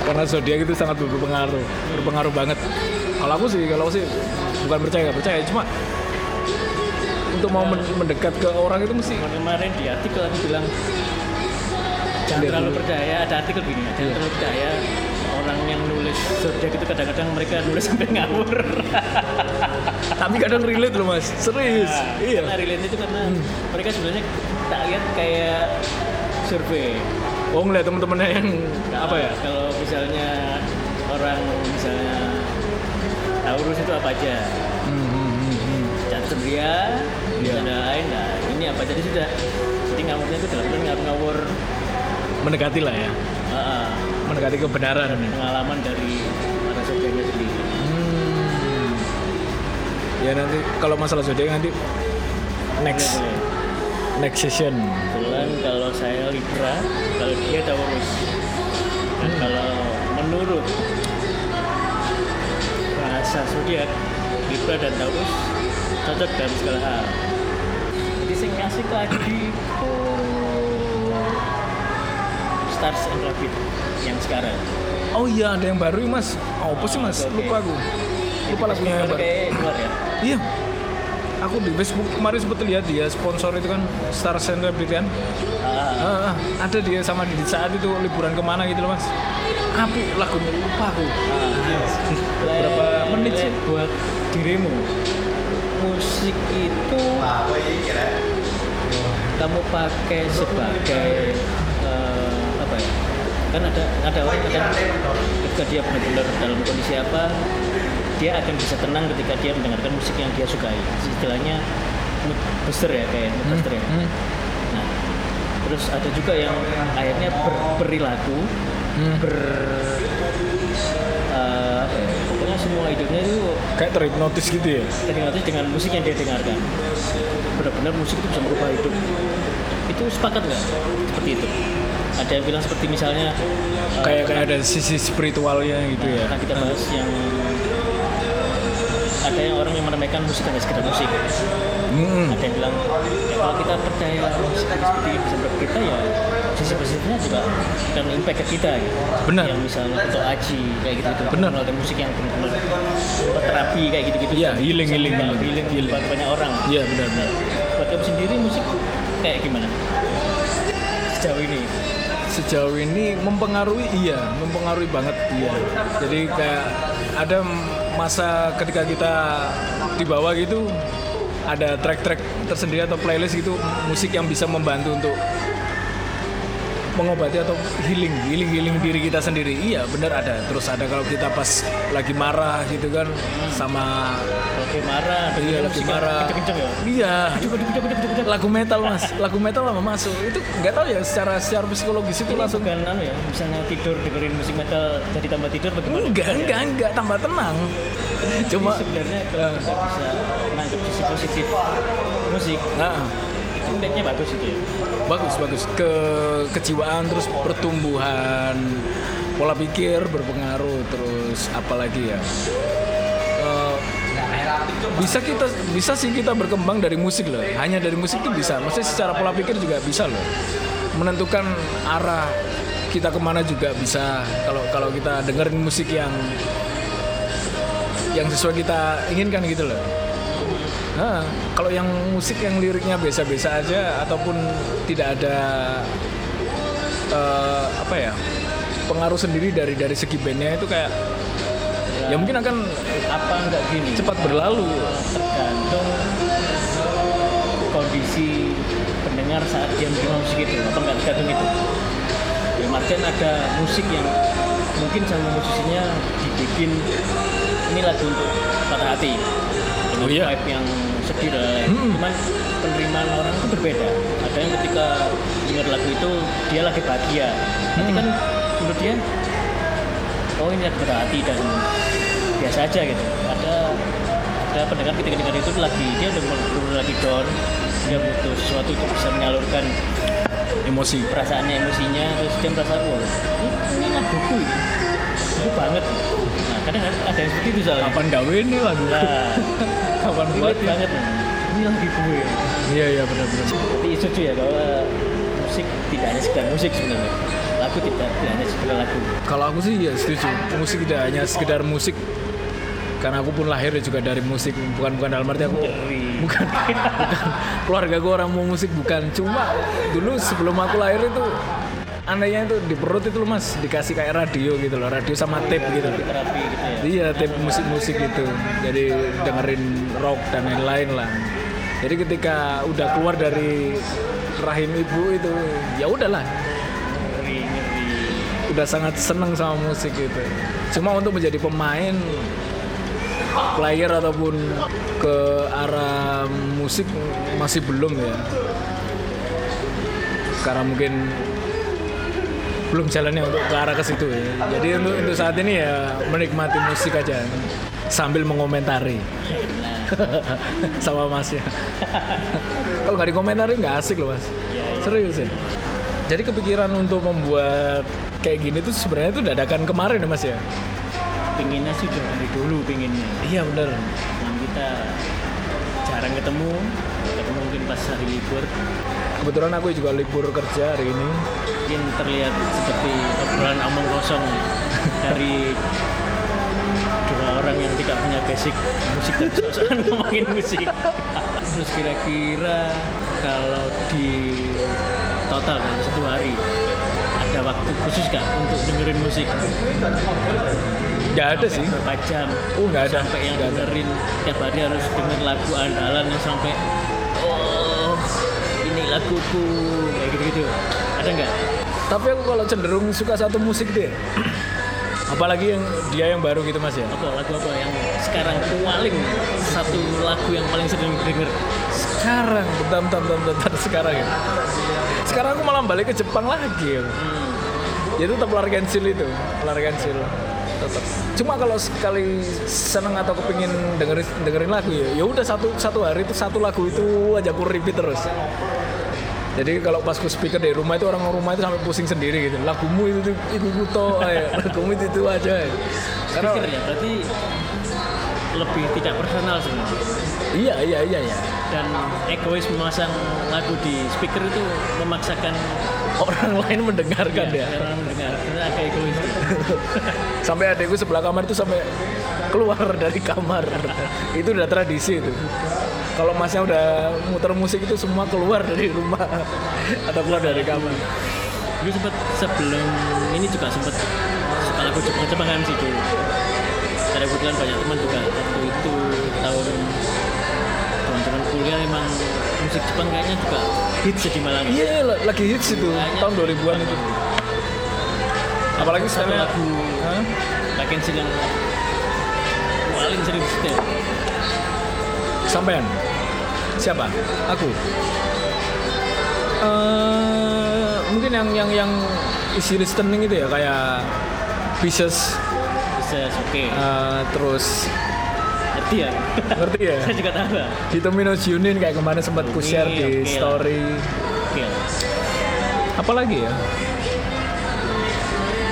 S1: karena zodiak itu sangat berpengaruh berpengaruh banget kalau aku sih kalau aku sih bukan percaya nggak percaya cuma untuk mau men- mendekat ke orang itu mesti
S2: kemarin di artikel aku bilang jangan
S1: Lihat
S2: terlalu
S1: dulu.
S2: percaya ada artikel gini jangan
S1: Iya.
S2: terlalu percaya orang yang nulis zodiak itu kadang-kadang mereka nulis sampai ngawur
S1: tapi kadang relate loh mas serius iya
S2: Nah, karena relate itu karena mereka sebenarnya tak lihat kayak survei
S1: oh ngeliat temen-temennya yang apa ya
S2: kalau misalnya orang misalnya Taurus itu apa aja
S1: Hmm, hmm, hmm, hmm.
S2: Catur dia
S1: Iya.
S2: ada lain nah ini apa jadi sudah jadi ngawurnya itu dalam ngawur ngawur
S1: mendekati lah ya mendekati kebenaran
S2: pengalaman dari para zodiaknya sendiri
S1: Hmm. ya nanti kalau masalah zodiak nanti next
S2: Boleh, boleh.
S1: next session
S2: kebetulan kalau saya Libra kalau dia Taurus dan
S1: Hmm.
S2: kalau menurut bahasa zodiak Libra dan Taurus cocok dalam segala hal jadi sing asik lagi ku Stars and Rabbit yang sekarang
S1: oh iya ada yang baru ya, mas oh, apa sih mas
S2: Oke, oke.
S1: lupa aku lupa lagunya yang baru
S2: kayak luar ya
S1: iya aku di Facebook kemarin sempet lihat dia sponsor itu kan Star Celebrity kan
S2: Ah,
S1: Ah, ah, ada dia sama di saat itu liburan kemana gitu loh mas aku lagunya lupa aku berapa menit sih buat dirimu
S2: musik itu kamu pakai sebagai eh, apa ya kan ada ada orang kadang ketika dia benar-benar dalam kondisi apa dia akan bisa tenang ketika dia mendengarkan musik yang dia sukai istilahnya mood booster ya kayak mood booster ya
S1: Hmm.
S2: nah terus ada juga yang akhirnya berperilaku
S1: Hmm.
S2: ber eh, apa ya, pokoknya semua hidupnya itu
S1: kayak terhipnotis gitu ya
S2: terhipnotis dengan musik yang dia dengarkan benar-benar musik itu bisa merubah hidup itu sepakat nggak seperti itu ada yang bilang seperti misalnya eh,
S1: kayak kayak ada sisi spiritualnya gitu ya
S2: Nah, akan kita bahas yang ada yang orang yang meremehkan musik hanya sekedar musik
S1: Hmm.
S2: ada yang bilang ya, kalau kita percaya musik itu seperti itu bisa berbuat kita ya sisi positifnya juga akan impact ke kita gitu.
S1: Benar.
S2: yang misalnya untuk aji kayak gitu gitu
S1: Benar.
S2: mengeluarkan musik yang benar-benar terapi kayak gitu gitu
S1: Iya, healing, healing,
S2: healing,
S1: healing.
S2: buat banyak orang Nah,
S1: iya benar benar
S2: buat kamu sendiri musik kayak gimana sejauh ini
S1: sejauh ini mempengaruhi iya mempengaruhi banget iya jadi kayak ada masa ketika kita di bawah gitu ada track-track tersendiri atau playlist gitu musik yang bisa membantu untuk mengobati atau healing healing healing diri kita sendiri iya benar ada terus ada kalau kita pas lagi marah gitu kan sama
S2: lagi marah
S1: Iya, lagi marah.
S2: kenceng ya
S1: iya lagu metal mas lagu metal lama masuk itu nggak tahu ya secara secara psikologis itu langsung
S2: langsung kan anu ya misalnya tidur dengerin musik metal jadi tambah tidur bagaimana
S1: Enggak, enggak, enggak tambah tenang.
S2: Jadi
S1: Cuma
S2: sebenarnya kalau kita bisa menangkap sisi positif musik
S1: nah,
S2: itu impactnya bagus itu ya
S1: bagus bagus ke kejiwaan terus pertumbuhan pola pikir berpengaruh terus apalagi ya Eh, bisa kita bisa sih kita berkembang dari musik loh hanya dari musik itu bisa maksudnya secara pola pikir juga bisa loh menentukan arah kita kemana juga bisa kalau kalau kita dengerin musik yang yang sesuai kita inginkan gitu loh Nah, kalau yang musik yang liriknya biasa-biasa aja ataupun tidak ada eh, apa ya pengaruh sendiri dari dari segi bandnya itu kayak ya mungkin akan
S2: apa enggak gini
S1: cepat berlalu.
S2: tergantung kondisi pendengar saat dia menerima musik itu apa nggak tergantung itu ya Martin ada musik yang mungkin sama musisinya dibikin ini lagu untuk patah hati dengan
S1: Oh, iya.
S2: vibe yang sedih dan lain-lain
S1: Hmm.
S2: cuman penerimaan orang itu berbeda ada yang ketika dengar lagu itu dia lagi bahagia nanti
S1: Hmm.
S2: kan menurut dia oh ini lagu patah hati dan biasa aja gitu ada ada pendengar ketika dengar itu lagi dia udah benar lagi down dia butuh sesuatu untuk bisa menyalurkan
S1: Emosi.
S2: perasaannya emosinya terus dia merasa wah ini- ini laguku ini Lagu banget nah kadang ada yang seperti itu soalnya
S1: Kapan gawe ini lagu?
S2: nah
S1: Kapan buat
S2: relate
S1: ya?
S2: banget nih. ini lagi gue
S1: Iya iya benar-benar.
S2: tapi setuju ya bahwa musik tidak hanya sekedar musik sebenarnya lagu tidak, tidak hanya sekedar lagu
S1: Kalau aku sih ya setuju. Musik tidak hanya sekedar musik. Karena aku pun lahir juga dari musik, bukan bukan dalam arti aku
S2: dari
S1: bukan bukan keluarga gue orang mau musik bukan cuma dulu sebelum aku lahir itu anehnya itu di perut itu loh mas dikasih kayak radio gitu loh radio sama tape gitu loh
S2: terapi gitu ya
S1: iya tape musik-musik gitu jadi dengerin rock dan lain-lain lah jadi ketika udah keluar dari rahim ibu itu ya udahlah
S2: ngeri ngeri
S1: udah sangat seneng sama musik gitu cuma untuk menjadi pemain player ataupun ke arah musik masih belum ya karena mungkin belum jalannya untuk ke arah ke situ ya jadi untuk untuk saat ini ya menikmati musik aja sambil mengomentari
S2: nah
S1: sama masnya kalau nggak dikomentarin nggak asik loh mas serius ya jadi kepikiran untuk membuat kayak gini tuh sebenarnya tuh dadakan kemarin ya mas ya
S2: pinginnya sih udah dari dulu pinginnya
S1: iya bener
S2: yang kita jarang ketemu ketemu mungkin pas hari libur
S1: kebetulan aku juga libur kerja hari ini
S2: mungkin terlihat seperti obrolan omong kosong dari dua orang yang tidak punya basic musik dan sosokan ngomongin musik terus kira-kira kalau di total dalam satu hari ada waktu khusus nggak untuk dengerin musik
S1: nggak ada
S2: Sampai
S1: sih
S2: berapa jam
S1: oh nggak ada
S2: sampai yang
S1: Nggak ada.
S2: dengerin tiap hari harus denger lagu andalan yang sampai oh ini laguku kayak gitu-gitu ada nggak
S1: tapi aku kalau cenderung suka satu musik deh apalagi yang dia yang baru gitu mas ya
S2: apa lagu apa yang sekarang paling satu lagu yang paling sering denger
S1: sekarang bentar bentar bentar, bentar, sekarang ya sekarang aku malah balik ke Jepang lagi ya ya tetap largensil itu largensil tetap cuma kalau sekali seneng atau kepingin dengerin dengerin lagu ya ya udah satu satu hari itu satu lagu itu aja aku repeat terus jadi kalau pas ku speaker dari rumah itu orang rumah itu sampai pusing sendiri gitu lagumu itu tuh, itu kuto ya. lagumu itu, itu aja ya. karena
S2: pikir ya berarti lebih tidak personal sebenarnya
S1: iya iya iya iya
S2: dan egois memasang lagu di speaker itu memaksakan
S1: orang lain mendengarkan ya,
S2: biar orang mendengar karena agak egois
S1: sampai adekku sebelah kamar itu sampai keluar dari kamar itu udah tradisi itu kalau masnya udah muter musik itu semua keluar dari rumah atau keluar dari kamar
S2: dulu sempat sebelum ini juga sempat suka lagu Jepang Jepang kan sih dulu karena kebetulan banyak teman juga waktu itu tahun teman-teman kuliah emang musik Jepang kayaknya juga hits ya di Malang
S1: iya iya, la- lagi hits itu tahun 2000-an itu apalagi
S2: satu
S1: sekarang ya.
S2: lagu
S1: Hah?
S2: Lakensil yang paling sering setel
S1: sampean siapa aku Eh, mungkin yang yang yang isi listening itu ya kayak Pieces
S2: bisa oke
S1: eh, terus
S2: ngerti ya
S1: ngerti ya
S2: saya juga tahu lah.
S1: Hitomi no Jiunin kayak kemarin sempat ku share
S2: Oke,
S1: di
S2: oke lah.
S1: story.
S2: oke
S1: Apalagi ya?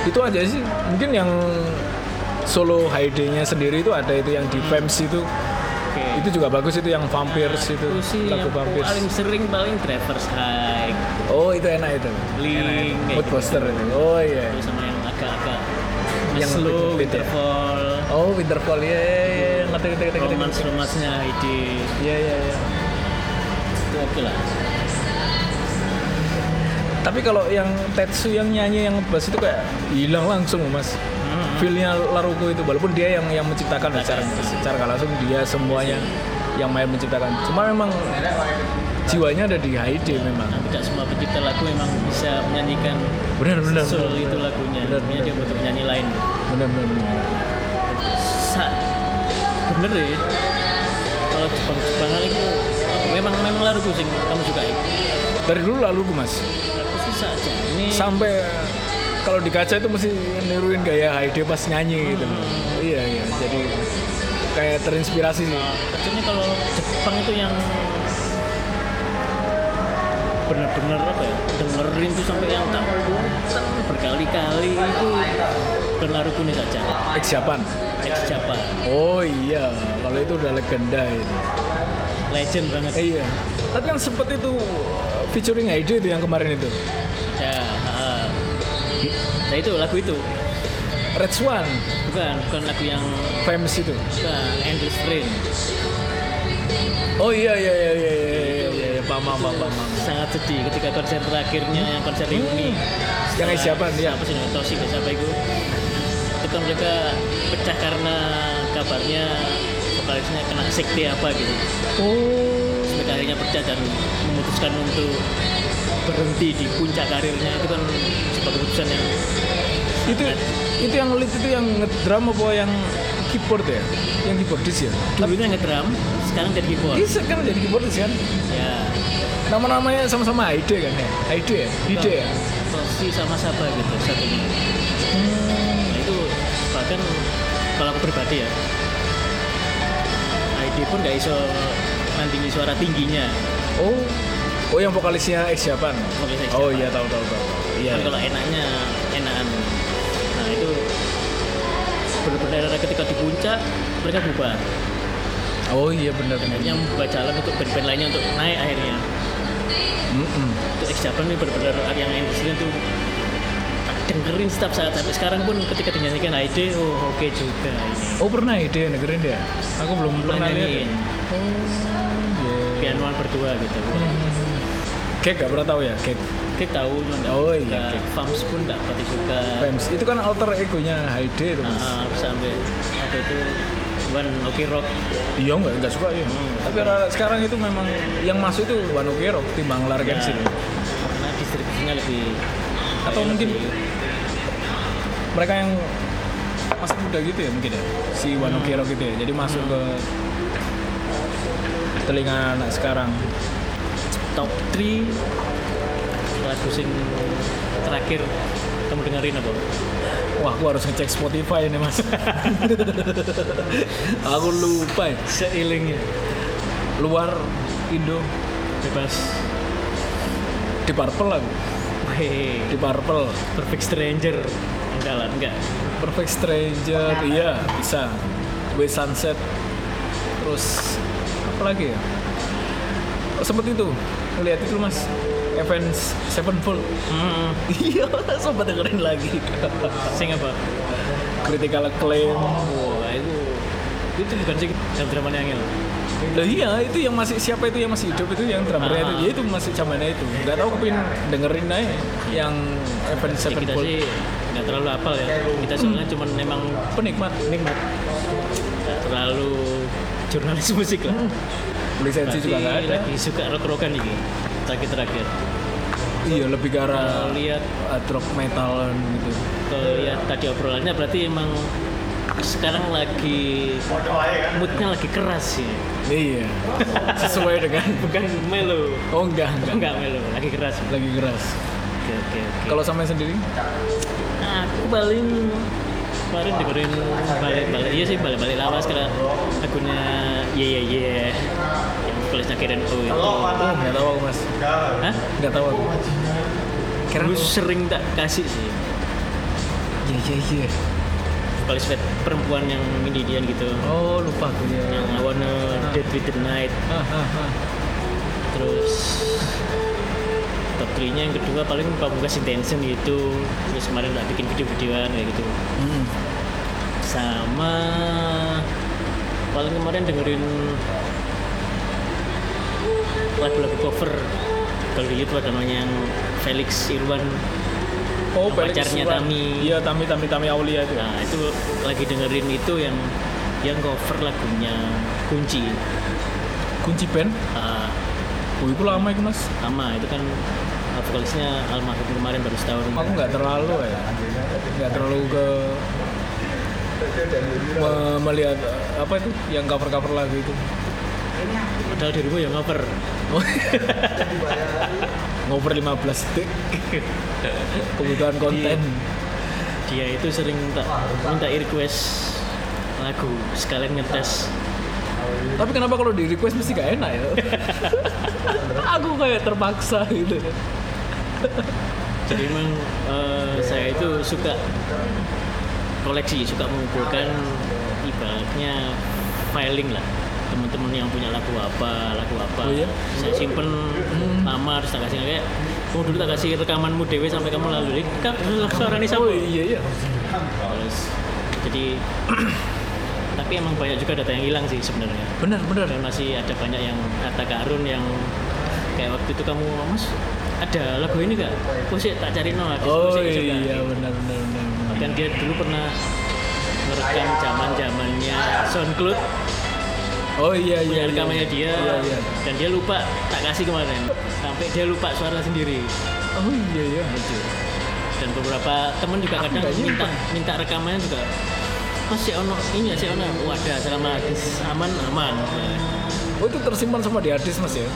S1: Itu aja sih. Mungkin yang solo HD-nya sendiri itu ada itu yang di Vamps itu.
S2: oke
S1: Itu juga bagus itu yang Vampires itu.
S2: Aku sih
S1: Lagu
S2: yang paling
S1: Vampires.
S2: sering paling Driver's High
S1: Oh, itu enak itu.
S2: Link kayak
S1: Mood
S2: gitu.
S1: poster itu. Oh iya.
S2: Terus sama yang agak-agak
S1: Yang ya?
S2: yang slow,
S1: lebih- lebih-
S2: Winterfall,
S1: Oh, Winterfall. Iya, iya, iya. Ngerti, ngerti, ngerti, ngerti.
S2: romance-romansnya ide
S1: Iya, iya, iya.
S2: itu oke lah.
S1: Tapi kalau yang Tetsu yang nyanyi yang bass itu kayak hilang langsung, Mas. feelnya Laruko itu walaupun dia yang yang menciptakan secara secara nggak langsung dia semuanya yang main menciptakan cuma memang jiwanya ada di Haide memang
S2: Nah, tidak semua pencipta lagu memang bisa menyanyikan
S1: benar benar
S2: soul itu lagunya.
S1: Benar,
S2: Makanya
S1: benar.
S2: dia butuh penyanyi lain.
S1: benar benar benar.
S2: Sa bener ya. Kalau Jepang Jepangan itu memang memang lagu sing kamu suka ya.
S1: dari dulu lalu gue mas
S2: Aku sih sa aja. Ini
S1: sampai eh, kalau di kaca itu mesti niruin gaya Haide pas nyanyi gitu iya iya jadi kayak terinspirasi sih
S2: Maksudnya kalau Jepang itu yang benar-benar apa ya dengerin tuh sampai yang tak bosan berkali-kali itu berlaru kune saja
S1: ex Japan
S2: ex Japa
S1: oh iya kalau itu udah legenda itu
S2: legend banget
S1: Eh, iya tapi yang sempet itu uh, featuring Haide itu yang kemarin itu
S2: ya ah. nah itu lagu itu
S1: Red Swan
S2: bukan bukan lagu yang
S1: famous itu
S2: bukan Endless Rain
S1: Oh iya iya iya iya iya iya iya iya paham paham paham, paham.
S2: sangat sedih ketika konser terakhirnya yang konser reuni
S1: Hmm. Yang
S2: Setelah-
S1: siapa dia?
S2: siapa sih nggak tahu sih siapa itu itu kan mereka pecah karena kabarnya vokalisnya kena sekte apa gitu
S1: Oh
S2: sampai karirnya pecah dan memutuskan untuk berhenti di puncak karirnya itu kan sebuah keputusan yang
S1: itu itu yang lead itu yang ngedrum apa yang keyboard ya? Yang keyboardis ya?
S2: dulunya ngedrum sekarang jadi keyboard
S1: Bisa kan jadi keyboardis kan?
S2: ya
S1: Nama-namanya sama-sama Haide kan ya? Haide ya? Haide ya?
S2: Tosi sama siapa gitu satunya
S1: Hmm.
S2: nah itu bahkan kalau aku pribadi ya ID dia pun gak iso nandingi suara tingginya
S1: Oh, oh yang vokalisnya X siapa?
S2: Vokalisnya X
S1: Oh
S2: siapa?
S1: iya tahu tahu tahu. Iya.
S2: Kan kalau enaknya enakan nah itu benar-benar ketika di puncak mereka bubar
S1: Oh iya benar.
S2: akhirnya membuka jalan untuk band-band lainnya untuk naik akhirnya
S1: Mm-mm.
S2: untuk X Japan ini benar-benar yang yang di sini tuh tak dengerin setiap saat sampai sekarang pun ketika dinyanyikan ID oh oke juga ini
S1: Oh pernah ya dia dengerin dia? Aku belum pernah lihat.
S2: nyanyiin
S1: ya? Iya.
S2: pianoan berdua gitu
S1: Kek gak pernah tahu ya, Kek.
S2: kita tahu cuma nggak
S1: Oh,
S2: suka.
S1: iya, oke.
S2: Fams pun nggak pasti suka
S1: Fems. Itu kan alter egonya Hyde itu
S2: Nah,
S1: mas.
S2: terus sampai waktu itu One Ok Rock
S1: Iya nggak nggak suka ya.
S2: Hmm.
S1: Tapi rara- sekarang itu memang yang masuk itu One Ok Rock timbang Lar
S2: Ya,
S1: Gengsi.
S2: karena distribusinya lebih
S1: Atau
S2: kayak
S1: mungkin-
S2: lebih-
S1: Mereka yang masih muda gitu ya mungkin ya. Si One Ok Rock gitu ya. Jadi masuk ke telinga anak sekarang.
S2: top 3 lagu sing terakhir kamu dengerin apa?
S1: Wah, aku harus ngecek Spotify ini mas. aku lupa. ya.
S2: Seilingnya
S1: Luar Indo
S2: bebas
S1: di Purple aku.
S2: Weh,
S1: Di Purple.
S2: Perfect Stranger enggak lah enggak
S1: Perfect Stranger, iya bisa. Way Sunset, terus apa lagi ya? Oh, sempet itu, lihat itu mas. Evans Sevenfold.
S2: hmm,
S1: Iya, sempat dengerin lagi.
S2: sing apa?
S1: Critical Acclaim.
S2: Oh, wah itu itu bukan sing jam dramanya angel
S1: Lah iya, itu yang masih siapa itu yang masih hidup itu yang drummernya itu,
S2: Ah.
S1: ya itu masih zamannya itu. Gak tau kepin dengerin aja yang Evans
S2: Ya, kita
S1: Sevenfold.
S2: sih nggak terlalu apal ya kita soalnya cuman memang
S1: Penikmat, nikmat.
S2: nggak terlalu jurnalis musik lah
S1: Hmm. Lisensi
S2: Berarti
S1: juga gak ada.
S2: lagi suka rock-rockan ini terakhir-terakhir
S1: Iya, lebih ke arah
S2: Kalau lihat
S1: hard rock Eh, metal gitu.
S2: kalau lihat tadi obrolannya berarti emang sekarang lagi moodnya lagi keras ya
S1: Iya, sesuai dengan
S2: bukan melo
S1: Oh enggak, enggak.
S2: enggak melo lagi keras
S1: Lagi keras.
S2: oke oke oke
S1: Kalau sampai sendiri?
S2: aku paling kemarin dengerin balik-balik iya sih balik-balik lawas karena lagunya ye ye ye yang tulisnya Karen O itu
S1: Oh, enggak tahu aku, Mas.
S2: Hah?
S1: Enggak tahu aku. Keren.
S2: Lu sering tak kasih sih
S1: Iya, iya, iya.
S2: vokalis Fat, perempuan yang Indian gitu
S1: Oh, lupa aku ya.
S2: yang I wanna date with the night
S1: Ah, ah, ah.
S2: terus top 3 nya yang kedua paling pamungkas intention gitu terus kemarin nggak bikin video-videoan kayak gitu
S1: Hmm.
S2: sama paling kemarin dengerin lagu-lagu cover kalau di YouTube ada namanya yang Felix Irwan
S1: Oh,
S2: Yang
S1: Felix
S2: pacarnya
S1: Surat.
S2: Tami.
S1: Iya, Tami, Tami, Tami Aulia itu.
S2: nah itu lagi dengerin itu yang yang cover lagunya kunci
S1: Kunci band.
S2: Ah,
S1: Oh, itu lama itu, Mas.
S2: sama itu kan uh, vokalisnya almarhum kemarin baru setahun
S1: Aku nggak terlalu ya. Nggak terlalu ke me- melihat eh, apa itu yang cover-cover lagu itu.
S2: padahal dirimu yang ngoper
S1: Ngoper 15 detik. Kebutuhan konten.
S2: dia itu sering minta minta request lagu sekalian ngetes
S1: Tapi kenapa kalau di request mesti gak enak ya? aku kayak terpaksa gitu.
S2: jadi memang eh, saya itu suka koleksi suka mengumpulkan ibaratnya filing lah teman-teman yang punya lagu apa lagu apa
S1: Oh iya?
S2: saya simpen lama harus tak kasih kayak oh dulu tak kasih rekamanmu dewe sampai kamu lalu ini kan suara ini sama
S1: Oh iya iya.
S2: terus jadi tapi emang banyak juga data yang hilang sih sebenarnya
S1: Bener bener.
S2: dan masih ada banyak yang kata karun yang kayak waktu itu kamu mas ada lagu ini gak? Oh sih tak cari no ada
S1: Oh
S2: musik juga."
S1: iya bener bener bener. bener.
S2: bahkan dia dulu pernah merekam zaman zamannya SoundCloud
S1: Oh iya
S2: punya
S1: iya. iya.
S2: rekamannya dia
S1: Iya iya.
S2: dan dia lupa tak kasih kemarin sampai dia lupa suara sendiri
S1: Oh iya iya.
S2: gitu dan beberapa temen juga
S1: Aku
S2: kadang
S1: nggak
S2: minta
S1: nyimpen.
S2: minta rekamannya juga mas si ono ini ya si ono oh ada selama aman aman Nah,
S1: Oh itu tersimpan sama di harddisk mas ya?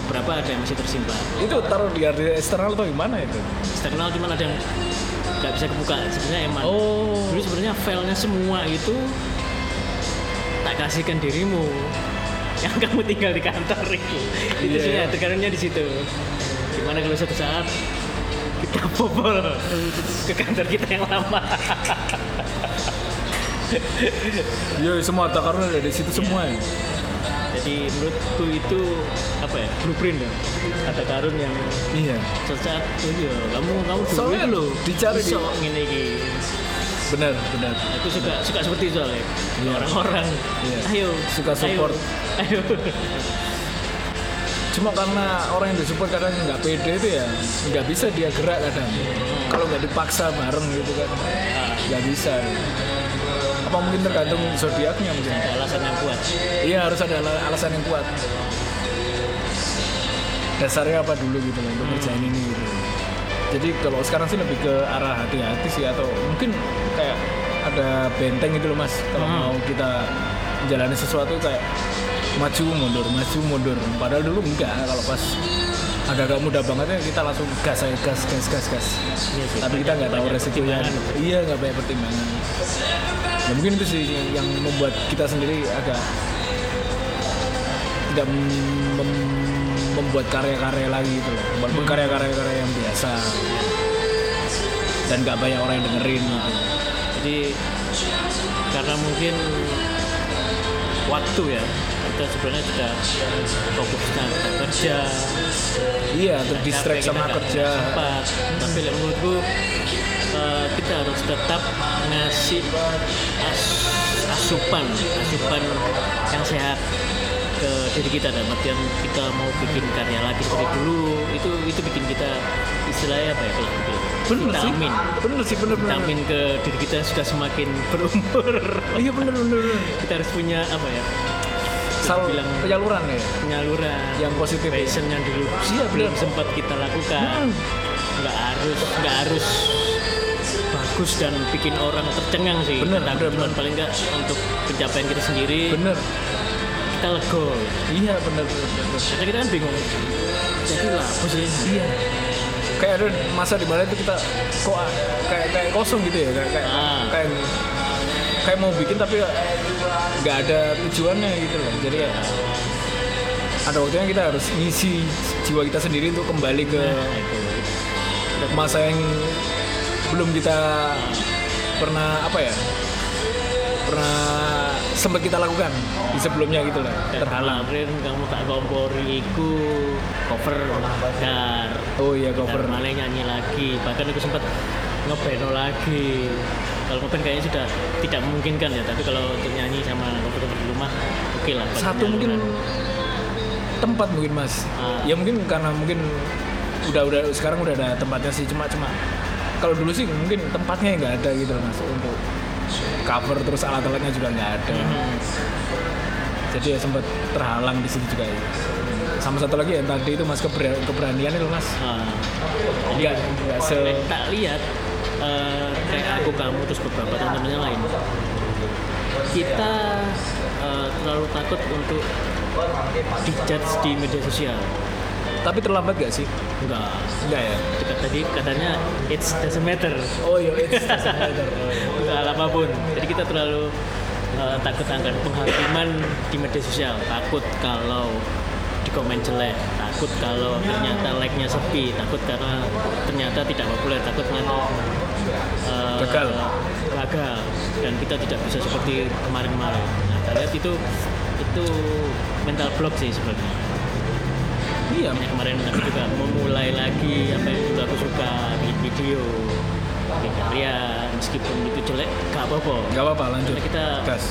S2: beberapa ada yang masih tersimpan
S1: Itu taruh di harddisk eksternal atau gimana itu?
S2: eksternal cuman ada yang nggak bisa kebuka sebenarnya emang
S1: Oh.
S2: dulu sebenarnya filenya semua itu tak kasihkan dirimu yang kamu tinggal di kantor itu itu
S1: Iya,
S2: sih
S1: iya.
S2: ya tekanannya di situ gimana kalau suatu saat kita bobol ke kantor kita yang lama
S1: Iya, semua harta karun ada di situ semua. ya.
S2: jadi menurutku itu apa ya blueprint ya kata karun yang
S1: Iya.
S2: suatu saat oh iya kamu kamu dulu
S1: Soalnya
S2: itu
S1: lho, dicari di-
S2: iso ngene iki
S1: Benar, benar.
S2: aku suka suka seperti itu soalnya
S1: Iya.
S2: orang-orang
S1: Iya.
S2: ayo
S1: Suka
S2: ayo,
S1: support.
S2: ayo,
S1: Cuma karena orang yang disupport kadang nggak pede itu ya, nggak bisa dia gerak kadang. Kalau nggak dipaksa bareng gitu kan, nggak bisa. Apa mungkin tergantung zodiaknya mungkin?
S2: Ada alasan yang kuat
S1: Iya harus ada ala- alasan yang kuat. Dasarnya apa dulu gitu loh untuk kerjaan ini gitu. Jadi kalau sekarang sih lebih ke arah hati-hati sih atau mungkin kayak ada benteng gitu loh mas. Kalau
S2: Hmm.
S1: mau kita menjalani sesuatu kayak maju mundur maju mundur. Padahal dulu enggak kalau pas ada agak muda banget ya kita langsung gas aja gas gas gas gas.
S2: Iya sih,
S1: Tapi kita nggak tahu
S2: banyak
S1: resikonya.
S2: pertimbangan.
S1: Iya nggak banyak pertimbangan. Ya mungkin itu sih yang membuat kita sendiri agak tidak mem- mem- membuat karya-karya lagi gitu loh walaupun karya-karya yang biasa dan nggak banyak orang yang dengerin gitu
S2: jadi karena mungkin waktu ya kita sebenarnya tidak fokus dengan kerja
S1: iya terdistract
S2: capek,
S1: sama
S2: kita nggak-
S1: kerja
S2: nggak sempat tapi lah menurutku eh, kita harus tetap ngasih as- asupan asupan yang sehat ke diri kita dan artian kita mau bikin karya lagi seperti dulu itu itu bikin kita istilahnya apa ya kalau gitu
S1: bener sih
S2: vitamin
S1: bener sih bener bener
S2: vitamin ke diri kita sudah semakin berumur
S1: iya bener bener, bener.
S2: kita harus punya apa ya
S1: Sal-
S2: bilang
S1: penyaluran ya
S2: penyaluran
S1: Yang positif ya?
S2: passion yang dulu
S1: Iya,
S2: belum
S1: benar.
S2: sempat kita lakukan
S1: Hmm.
S2: nggak harus nggak harus bagus dan bikin orang tercengang sih
S1: Benar,
S2: tapi
S1: benar,
S2: cuma
S1: benar.
S2: paling nggak untuk pencapaian kita sendiri
S1: bener
S2: kita lego
S1: iya bener bener, bener, bener.
S2: karena kita kan bingung jadi lah apa sih
S1: iya kayak ada masa di mana itu kita kok kayak kayak kosong gitu ya kayak kayak
S2: Ah.
S1: kayak, kayak mau bikin tapi nggak ada tujuannya gitu loh jadi ya, ada waktunya kita harus ngisi jiwa kita sendiri untuk kembali ke
S2: Nah, itu.
S1: masa yang belum kita pernah apa ya pernah sempat kita lakukan di sebelumnya gitu loh
S2: Dan
S1: terhalang
S2: kemarin kamu tak kompori iku cover dar
S1: oh iya cover
S2: cover malah nyanyi lagi bahkan aku sempat ngebeno lagi kalau ngeband kayaknya sudah tidak memungkinkan ya tapi kalau untuk nyanyi sama cover cover di rumah oke lah Kalau
S1: satu mungkin
S2: penyaluran.
S1: tempat mungkin mas
S2: Ah.
S1: ya mungkin karena mungkin udah udah sekarang udah ada tempatnya sih cuma cuma kalau dulu sih mungkin tempatnya yang nggak ada gitu loh mas untuk cover terus alat-alatnya juga nggak ada
S2: Hmm.
S1: jadi ya sempat terhalang di situ juga ya. sama satu lagi yang tadi itu mas keber- keberanian itu mas
S2: Ah.
S1: nggak nggak se
S2: Eh, tak lihat eh, kayak aku kamu terus beberapa teman-teman yang lain kita eh, terlalu takut untuk dijudge di media sosial
S1: tapi terlambat gak sih
S2: enggak
S1: enggak ya
S2: Dekat tadi katanya it's doesn't matter
S1: oh iya it's doesn't matter.
S2: untuk hal apapun jadi kita terlalu eh, takut akan penghakiman di media sosial takut kalau di komen jelek takut kalau ternyata like-nya sepi takut karena ternyata tidak populer takut dengan eh,
S1: Gagal.
S2: gagal dan kita tidak bisa seperti kemarin-kemarin nah kita lihat itu itu mental block sih sebenarnya
S1: iya
S2: Makanya kemarin aku juga memulai lagi apa yang dulu aku suka bikin video bikin karya meskipun itu jelek gak apa-apa
S1: nggak apa-apa lanjut
S2: Karena kita-
S1: gas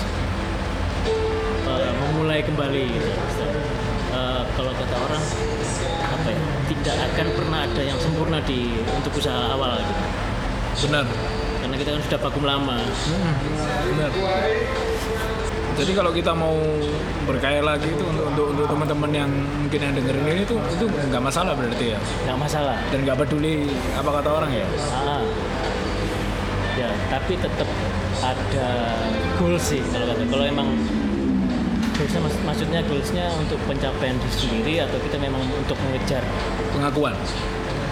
S2: Eh, memulai kembali gitu. Eh, kalau kata orang apa ya tidak akan pernah ada yang sempurna di untuk usaha awal gitu.
S1: benar
S2: karena kita kan sudah vakum lama
S1: Benar. Jadi kalau kita mau berkaya lagi itu untuk untuk, untuk teman-teman yang mungkin yang dengerin ini itu itu nggak masalah berarti ya
S2: nggak masalah
S1: dan nggak peduli apa kata orang ya.
S2: Ah. Ya, tapi tetap ada goal sih kalau kata. Kalau emang goalsnya mak- maksudnya goalsnya untuk pencapaian diri sendiri atau kita memang untuk mengejar
S1: Pengakuan.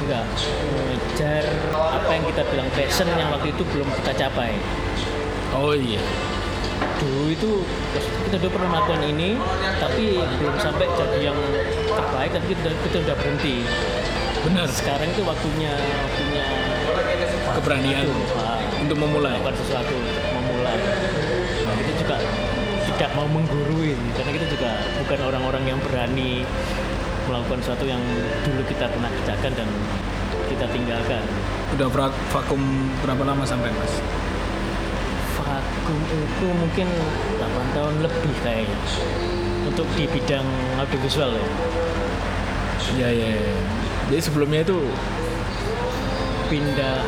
S2: enggak mengejar apa yang kita bilang passion yang waktu itu belum kita capai
S1: Oh iya.
S2: dulu dulu itu kita udah pernah melakukan ini tapi belum sampai jadi yang terbaik tapi kita, kita udah berhenti
S1: Benar.
S2: sekarang itu waktunya waktunya
S1: Keberanian
S2: Wah,
S1: untuk memulai.
S2: melakukan sesuatu untuk memulai Nah, kita juga tidak mau menggurui karena kita juga bukan orang-orang yang berani melakukan sesuatu yang dulu kita pernah kerjakan dan kita tinggalkan
S1: Udah bra- vakum berapa lama sampai mas?
S2: vakum itu mungkin 8 tahun lebih kayaknya untuk di bidang audiovisual ya
S1: Iya iya. iya. Jadi sebelumnya itu
S2: pindah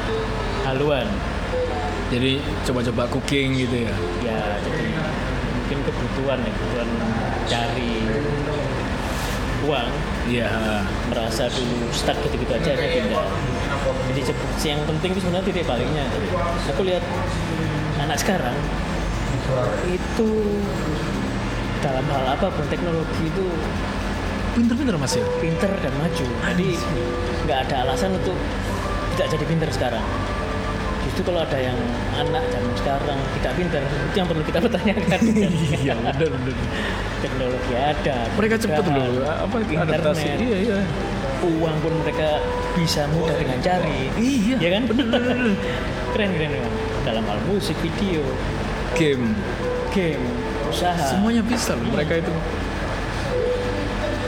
S2: haluan
S1: jadi coba-coba cooking gitu ya.
S2: ya jadi mungkin kebutuhan ya kebutuhan cari uang
S1: Iya.
S2: merasa dulu stuck gitu-gitu aja saya pindah jadi se- yang penting itu sebenarnya titik baliknya Jadi, aku lihat anak sekarang itu dalam hal apapun teknologi itu
S1: Pinter-pinter mas ya.
S2: pinter dan maju jadi nggak ada alasan untuk tidak jadi pinter sekarang justru kalau ada yang anak zaman sekarang tidak pinter itu yang perlu kita pertanyakan
S1: Iya benar benar.
S2: teknologi ada
S1: Mereka cepet
S2: kemudahan,
S1: loh. Apa adaptasi?
S2: internet
S1: Iya iya.
S2: uang pun mereka bisa mudah dengan cari
S1: Iya.
S2: ya kan bener keren keren keren. dalam hal musik video
S1: Game.
S2: game usaha
S1: Semuanya bisa loh mereka itu.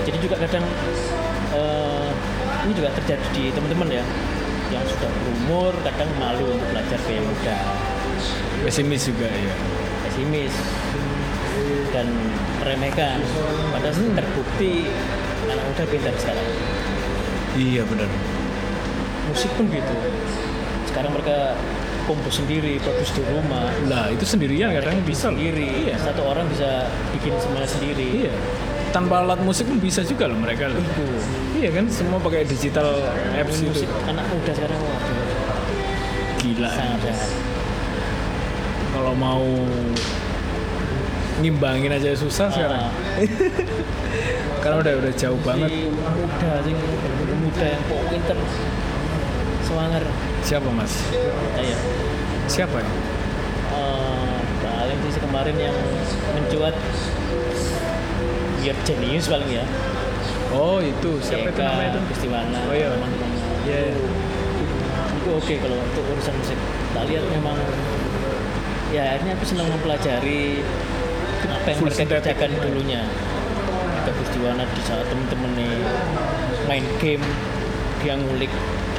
S2: jadi juga kadang eh, ini juga terjadi di teman-teman ya yang sudah berumur kadang malu untuk belajar kayak muda
S1: Pesimis juga ya.
S2: pesimis dan meremehkan padahal
S1: Hmm.
S2: terbukti anak muda pintar sekarang
S1: Iya benar.
S2: musik pun gitu sekarang mereka kompos sendiri produksi di rumah
S1: Lah itu sendirian kadang bisa loh.
S2: sendiri
S1: Iya.
S2: satu orang bisa bikin semuanya sendiri
S1: Iya. Tanpa alat musik pun bisa juga loh mereka loh.
S2: itu
S1: Iya kan semua pakai digital apps itu.
S2: musik anak muda sekarang waduh,
S1: Gila.
S2: sangat sangat
S1: Kalau mau ngimbangin aja susah sekarang.
S2: Ah.
S1: Karena udah udah jauh banget.
S2: si muda sing muda yang kok pinter semangar
S1: Siapa mas? Iya.
S2: ayo
S1: Siapa? ya?
S2: Eh, paling sih kemarin yang mencuat Your Genius paling ya
S1: Oh itu siapa itu
S2: Eka,
S1: namanya itu?
S2: Gustiwana,
S1: Oh, iya.
S2: teman-teman.
S1: Ya
S2: itu oke kalau untuk urusan musik tak lihat memang ya akhirnya aku senang mempelajari apa yang
S1: Full
S2: mereka
S1: synthetic.
S2: kerjakan dulunya Bagus Diwana di saat temen-temen nih main game dia ngulik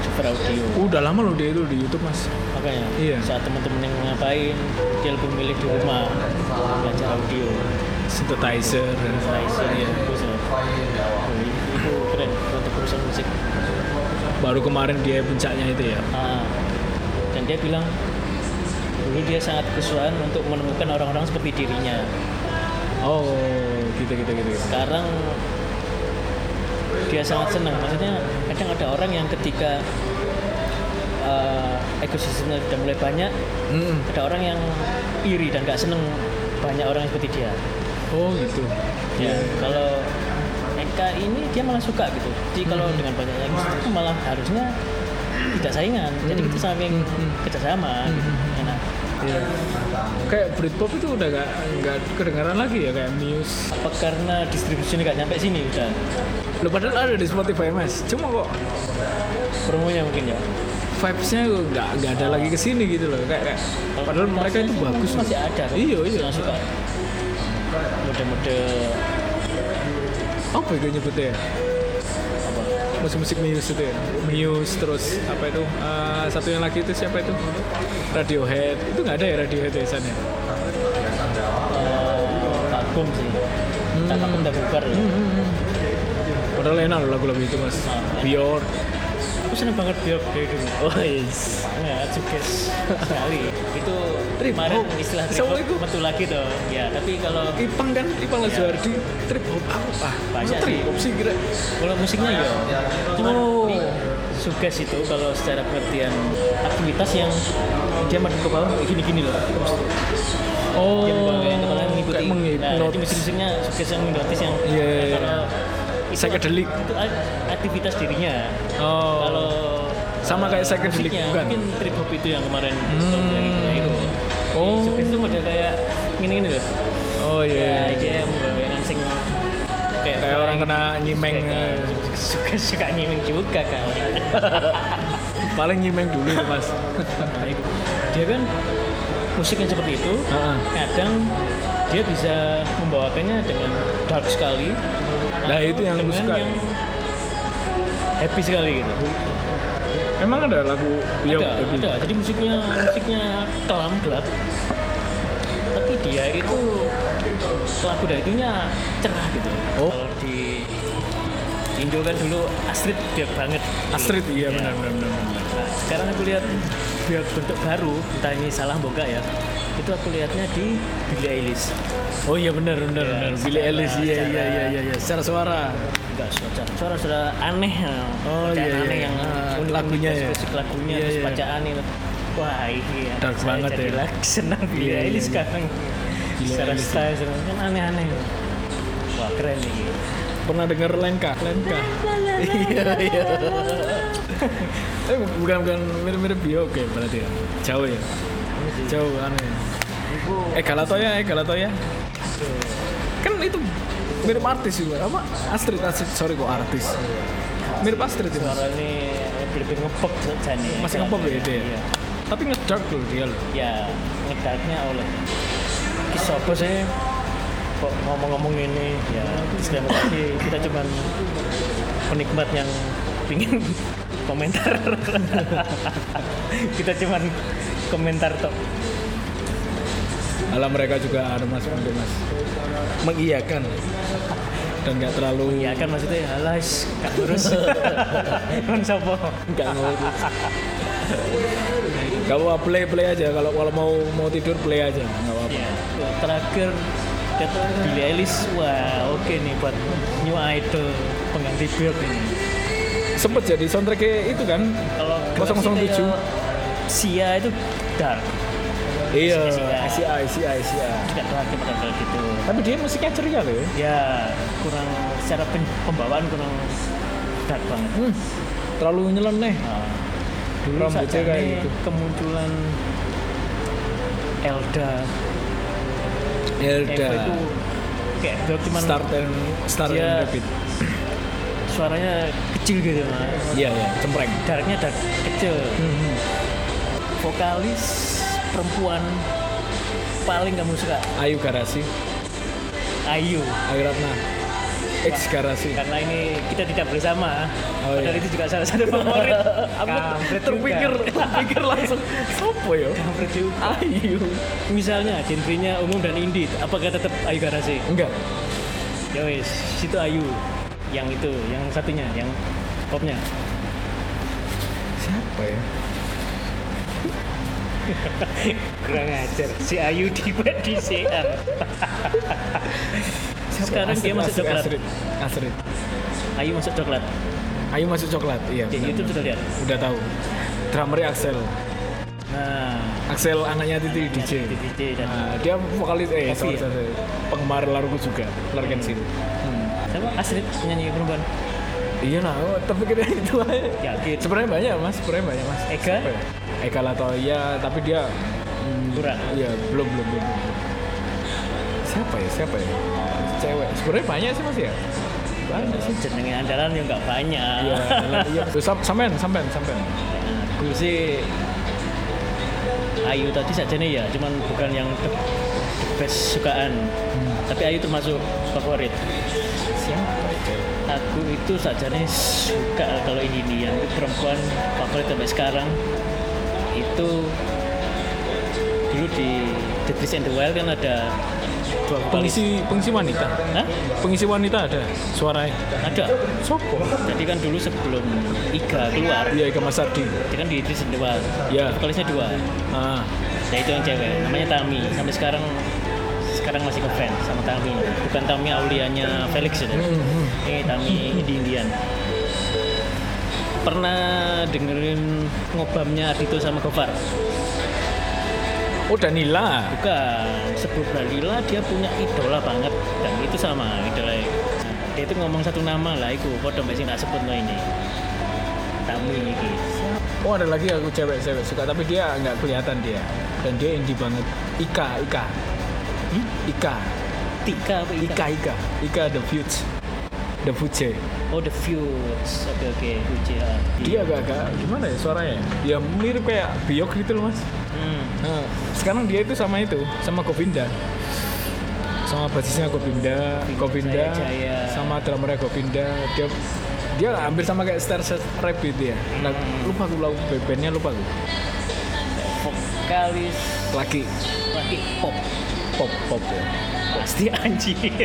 S2: super audio
S1: udah lama loh dia itu di YouTube mas.
S2: makanya
S1: Iya.
S2: saat temen-temen yang ngapain dia lebih milih di rumah belajar audio
S1: Synthesizer.
S2: synthesizer ya itu itu keren untuk urusan musik
S1: Baru kemarin dia puncaknya itu ya.
S2: Ah, dan dia bilang dulu dia sangat kesulitan untuk menemukan orang-orang seperti dirinya.
S1: Oh gitu gitu gitu. gitu.
S2: Sekarang dia sangat senang. Maksudnya kadang ada orang yang ketika eh, ekosistemnya sudah mulai banyak,
S1: Mm.
S2: ada orang yang iri dan nggak seneng banyak orang seperti dia.
S1: Oh gitu.
S2: Ya, kalau Eka ini dia malah suka gitu. Jadi kalau dengan banyak yang itu malah harusnya tidak saingan. Jadi kita saling kerjasama. gitu. Enak.
S1: Iya. Kayak Britpop itu udah gak, nggak kedengaran lagi ya kayak Muse.
S2: apa karena distribusinya nggak nyampe sini udah
S1: Lo padahal ada di Spotify mas. Cuma kok
S2: promonya mungkin ya
S1: vibes-nya nggak nggak ada lagi ke sini gitu loh. Kayak, kayak
S2: Kalau
S1: padahal mereka itu
S2: masih-
S1: bagus.
S2: masih ada kok.
S1: Iya iya.
S2: Yang suka mode-mode
S1: Apa itu nyebutnya? ya?
S2: apa
S1: Musik-musik Muse itu ya. Muse terus apa itu? Eh, satu yang lagi itu siapa itu? Radiohead. Itu nggak ada ya Radiohead ya sana.
S2: eh, vakum sih
S1: Hmm.
S2: tak vakum tak bubar ya.
S1: Padahal enak loh lagu-lagu itu mas. Bjork.
S2: aku seneng banget Björk dari dulu
S1: Oh yes.
S2: banget sukses Iya, sekali itu
S1: Trip
S2: kemarin
S1: hop.
S2: istilah trip
S1: Semua
S2: hop
S1: itu.
S2: betul lagi tuh ya tapi kalau
S1: Ipang kan, Ipang Lajuardi, trip hop apa? Masa
S2: Banyak
S1: trip hop sih kira.
S2: kalau musiknya ya cuman
S1: Oh.
S2: ini suges itu kalau secara pengertian aktivitas yang dia maju ke bawah kayak gini-gini loh
S1: Oh,
S2: dia membawa yang kepala mengikuti
S1: kayak
S2: nah itu
S1: menghipnotis.
S2: musik-musiknya suges yang menghipnotis yang
S1: Iya, iya, iya.
S2: kalau itu-
S1: Psychedelic.
S2: itu a- aktivitas dirinya
S1: Oh,
S2: kalau
S1: Sama kayak psychedelic,
S2: musiknya,
S1: bukan?
S2: mungkin trip hop itu yang kemarin
S1: Hmm.
S2: yang itu
S1: Oh.
S2: Showcase itu model kayak gini-gini loh.
S1: Oh
S2: Ya,
S1: iya.
S2: dia membawakan sing kayak,
S1: Kayak orang kena nyimeng. eh.
S2: suka suka nyimeng juga kan.
S1: Paling nyimeng dulu itu mas.
S2: Nah, itu. dia kan musik yang seperti itu
S1: Heeh.
S2: kadang dia bisa membawakannya dengan dark sekali
S1: Nah, itu yang
S2: atau
S1: aku
S2: dengan
S1: suka.
S2: yang happy sekali gitu
S1: Emang ada lagu Yo,
S2: ada,
S1: Baby?
S2: ada. jadi musiknya musiknya kelam gelap tapi dia itu lagu dan itunya cerah gitu
S1: Oh.
S2: kalau di di Indo kan dulu Astrid dia banget
S1: Astrid iya
S2: Ya.
S1: benar benar benar. benar.
S2: Nah, sekarang aku lihat dia bentuk baru, entah ini salah boga ya. Itu aku lihatnya di Billie Eilish.
S1: Oh iya benar benar
S2: Ya,
S1: benar. Billie
S2: secara-
S1: Eilish iya iya iya iya iya. Secara suara.
S2: Enggak suara suara sudah aneh. ya.
S1: Oh,
S2: Bacaan
S1: iya, iya,
S2: aneh
S1: iya.
S2: yang
S1: Ah,
S2: unik-unik,
S1: lagunya ya.
S2: spesifik lagunya,
S1: Iya,
S2: terus
S1: iya.
S2: bacaan itu. Wah, iya.
S1: Dark
S2: saya
S1: banget
S2: jadi
S1: ya.
S2: lagi senang Billie
S1: Iya, iya,
S2: Eilish
S1: iya.
S2: sekarang.
S1: Billie
S2: Secara
S1: Eilish.
S2: style sekarang kan aneh-aneh. Wah, keren nih.
S1: Pernah denger Lenka? Lenka. Iya iya. Eh bukan bukan mirip-mirip Bio oke berarti ya. Jauh ya. Jauh aneh. Eh Galatoya eh Galatoya. Kan itu mirip artis juga apa Astrid Astrid sorry kok artis mirip Astrid itu
S2: Suara ini lebih ngepop saja nih.
S1: masih ngepop ya dia
S2: Iya.
S1: tapi ngedark loh dia loh
S2: ya ngedaknya oleh kisah apa sih kok ngomong-ngomong ini ya disclaimer lagi kita cuman penikmat yang pingin komentar kita cuman komentar tok
S1: Alam mereka juga ada mas Pandu, mas mengiyakan dan nggak terlalu
S2: ya kan maksudnya halah is, gak terus kan sopo
S1: nggak ngurus kamu play play aja kalau kalau mau mau tidur play aja nggak apa-apa
S2: ya terakhir kata Billie Eilish wah oke nih buat new idol pengganti Björk ini
S1: sempet jadi soundtracknya itu kan
S2: kalau gelap
S1: 007.
S2: sih kayak Sia itu dark
S1: iya
S2: SCI.
S1: SCI SCI SCI
S2: tidak terlatih pada kayak gitu
S1: tapi dia musiknya ceria loh ya.
S2: ya kurang secara pen- pembawaan kurang dark banget
S1: hmm, terlalu nyeleneh
S2: nah,
S1: Ah, rambutnya
S2: sajane
S1: kayak gitu
S2: kemunculan Elda Elda itu kayak dia cuman
S1: Ya start and ya. start
S2: Dia-
S1: and repeat
S2: suaranya kecil gitu mah
S1: iya iya cempreng Hmm.
S2: darknya dark kecil vokalis perempuan paling kamu suka
S1: Ayu Garasi
S2: Ayu
S1: Ayu Ratna X Garasi
S2: karena ini kita tidak bersama
S1: Oh, iya.
S2: padahal itu juga salah satu favorit aku
S1: terpikir terpikir langsung sopo ya
S2: kampret juga
S1: ayu
S2: misalnya genrenya umum dan indie apakah tetap Ayu Garasi
S1: enggak
S2: ya wis situ Ayu yang itu yang satunya yang popnya
S1: siapa ya
S2: kurang ajar si Ayu di di CR
S1: Siapa?
S2: Sekarang dia masuk
S1: Astrid,
S2: coklat.
S1: Astrid, Astrid.
S2: Ayu masuk coklat
S1: Ayu masuk coklat iya
S2: di
S1: benar.
S2: YouTube sudah lihat
S1: udah tahu drummernya Axel
S2: nah
S1: Axel anaknya Titi DJ
S2: di DJ dan
S1: Nah, dia vokalis eh sorry,
S2: Kopi ya?
S1: sorry. penggemar laruku juga Larkin Sin Ah.
S2: sama Astrid penyanyi perempuan Ya,
S1: iya lah oh, terpikirnya itu aja
S2: yakin
S1: sebenarnya banyak mas sebenarnya banyak mas
S2: Ega
S1: Apa ya? Eka Latoya tapi dia hmm,
S2: kurang
S1: Iya, belum, belum, belum. belum. Siapa ya? Siapa ya? Cewek. Sebenarnya banyak sih Mas ya. Banyak sih.
S2: jenenge andalan yang nggak banyak
S1: Iya, iya. Sam- Sampean, sampean, sampean.
S2: aku sih Ayu tadi saja nih ya, cuman bukan yang the, the best sukaan. Tapi Ayu termasuk favorit.
S1: Siapa itu?
S2: Aku itu saja nih suka kalau ini nih yang perempuan favorit sampai sekarang itu dulu di The Beast and the Wild kan ada dua vokalis.
S1: Pengisi pengisi wanita.
S2: Hah?
S1: Pengisi wanita ada E. suaranya.
S2: Ada.
S1: Sopo?
S2: Jadi kan dulu sebelum Iga keluar,
S1: Iya, Ika Mas Ardi.
S2: dia kan di The Beast and the Wild.
S1: Iya.
S2: Vokalisnya dua.
S1: Ah,
S2: Ya itu yang cewek, namanya Tami. Sampai sekarang sekarang masih ke fans sama Tami. Bukan Tami Aulianya Felix ya. Ini Tami di Indian. Pernah dengerin ngobamnya Ardito sama Gofar?
S1: oh Danila.
S2: Bukan. Sebelum Dalila dia punya idola banget dan itu sama idola. Dia itu ngomong satu nama lah, iku podo mbek sing tak sebut no ini. Tami ini.
S1: Oh ada lagi aku cewek-cewek suka tapi dia nggak kelihatan dia. dan dia indie banget Ika Ika
S2: Hmm?
S1: Ika
S2: Tika apa Ika?
S1: Ika Ika Ika the Fuge the Fuge
S2: Oh The Fuse. Oke oke. Fuji, ah.
S1: dia agak-agak gimana ya suaranya ya mirip kayak Biok gitu loh mas
S2: Hmm.
S1: Nah, sekarang dia itu sama itu sama Govinda sama basisnya Govinda Govinda
S2: Jaya.
S1: sama drummernya Govinda dia dia hampir sama kayak Star Set Rap gitu ya nah, lupa aku lagu bandnya lupa aku
S2: Vokalis
S1: laki
S2: laki pop.
S1: pop pop ya
S2: Pasti anjing.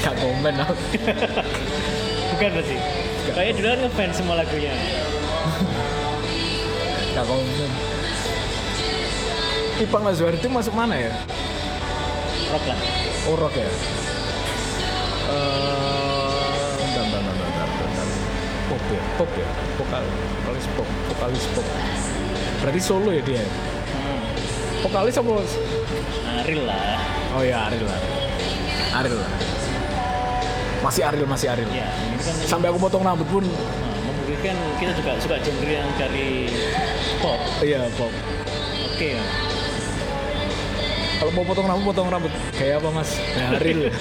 S1: gak komen aku
S2: Bukan berarti. Kayaknya dulu kan ngefans semua lagunya.
S1: gak komen Ipang Azwar itu masuk mana ya?
S2: Rock lah.
S1: Orok ya? Eh, bentar, bentar, bentar, bentar, bentar. Pop ya? Pop ya? Vokal, vokalis pop, vokalis pop. Berarti solo ya dia?
S2: Hmm.
S1: Vokalis apa?
S2: Ariel lah.
S1: Oh ya Ariel lah. Ariel lah. Masih Ariel, masih Ariel.
S2: Ya, ini kan
S1: Sampai aku potong rambut pun,
S2: Nah, membuktikan kita juga suka genre yang dari pop.
S1: iya pop.
S2: Oke. ya.
S1: Kalau mau potong rambut, potong rambut. Kayak apa mas? Nah, Ariel.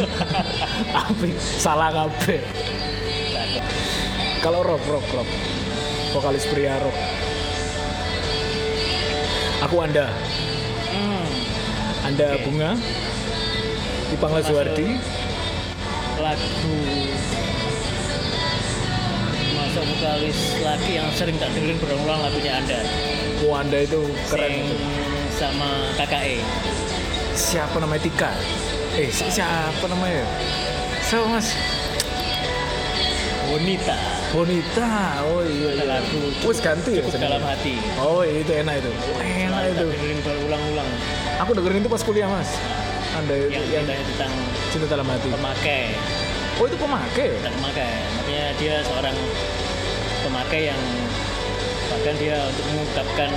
S1: Apik, salah kabeh.
S2: Nggak ada.
S1: Kalau rock, rock, rock. Vokalis pria rock. Aku Anda.
S2: Hmm.
S1: Anda
S2: Oke.
S1: Bunga. Ipang Lazuardi.
S2: Lagu masuk vokalis laki yang sering tak dengerin berulang-ulang lagunya Anda.
S1: Oh, Anda itu keren.
S2: Sing
S1: itu.
S2: sama E. KKE.
S1: Siapa namanya Tika? Eh, si- siapa namanya? Siapa Mas?
S2: Bonita.
S1: Bonita. Oh iya iya.
S2: Lagu
S1: Wes ganti ya
S2: cukup
S1: jenengnya?
S2: dalam hati.
S1: Oh iya, itu enak itu. Enak
S2: Selalu
S1: itu.
S2: tak dengerin Nah, berulang-ulang
S1: Aku dengerin itu pas kuliah Mas. Anda itu
S2: yang
S1: yang
S2: ceritanya tentang
S1: cinta dalam hati.
S2: pemakai
S1: Oh itu pemakai. ya?
S2: dan pemakai makanya dia seorang pemakai yang bahkan dia untuk mengungkapkan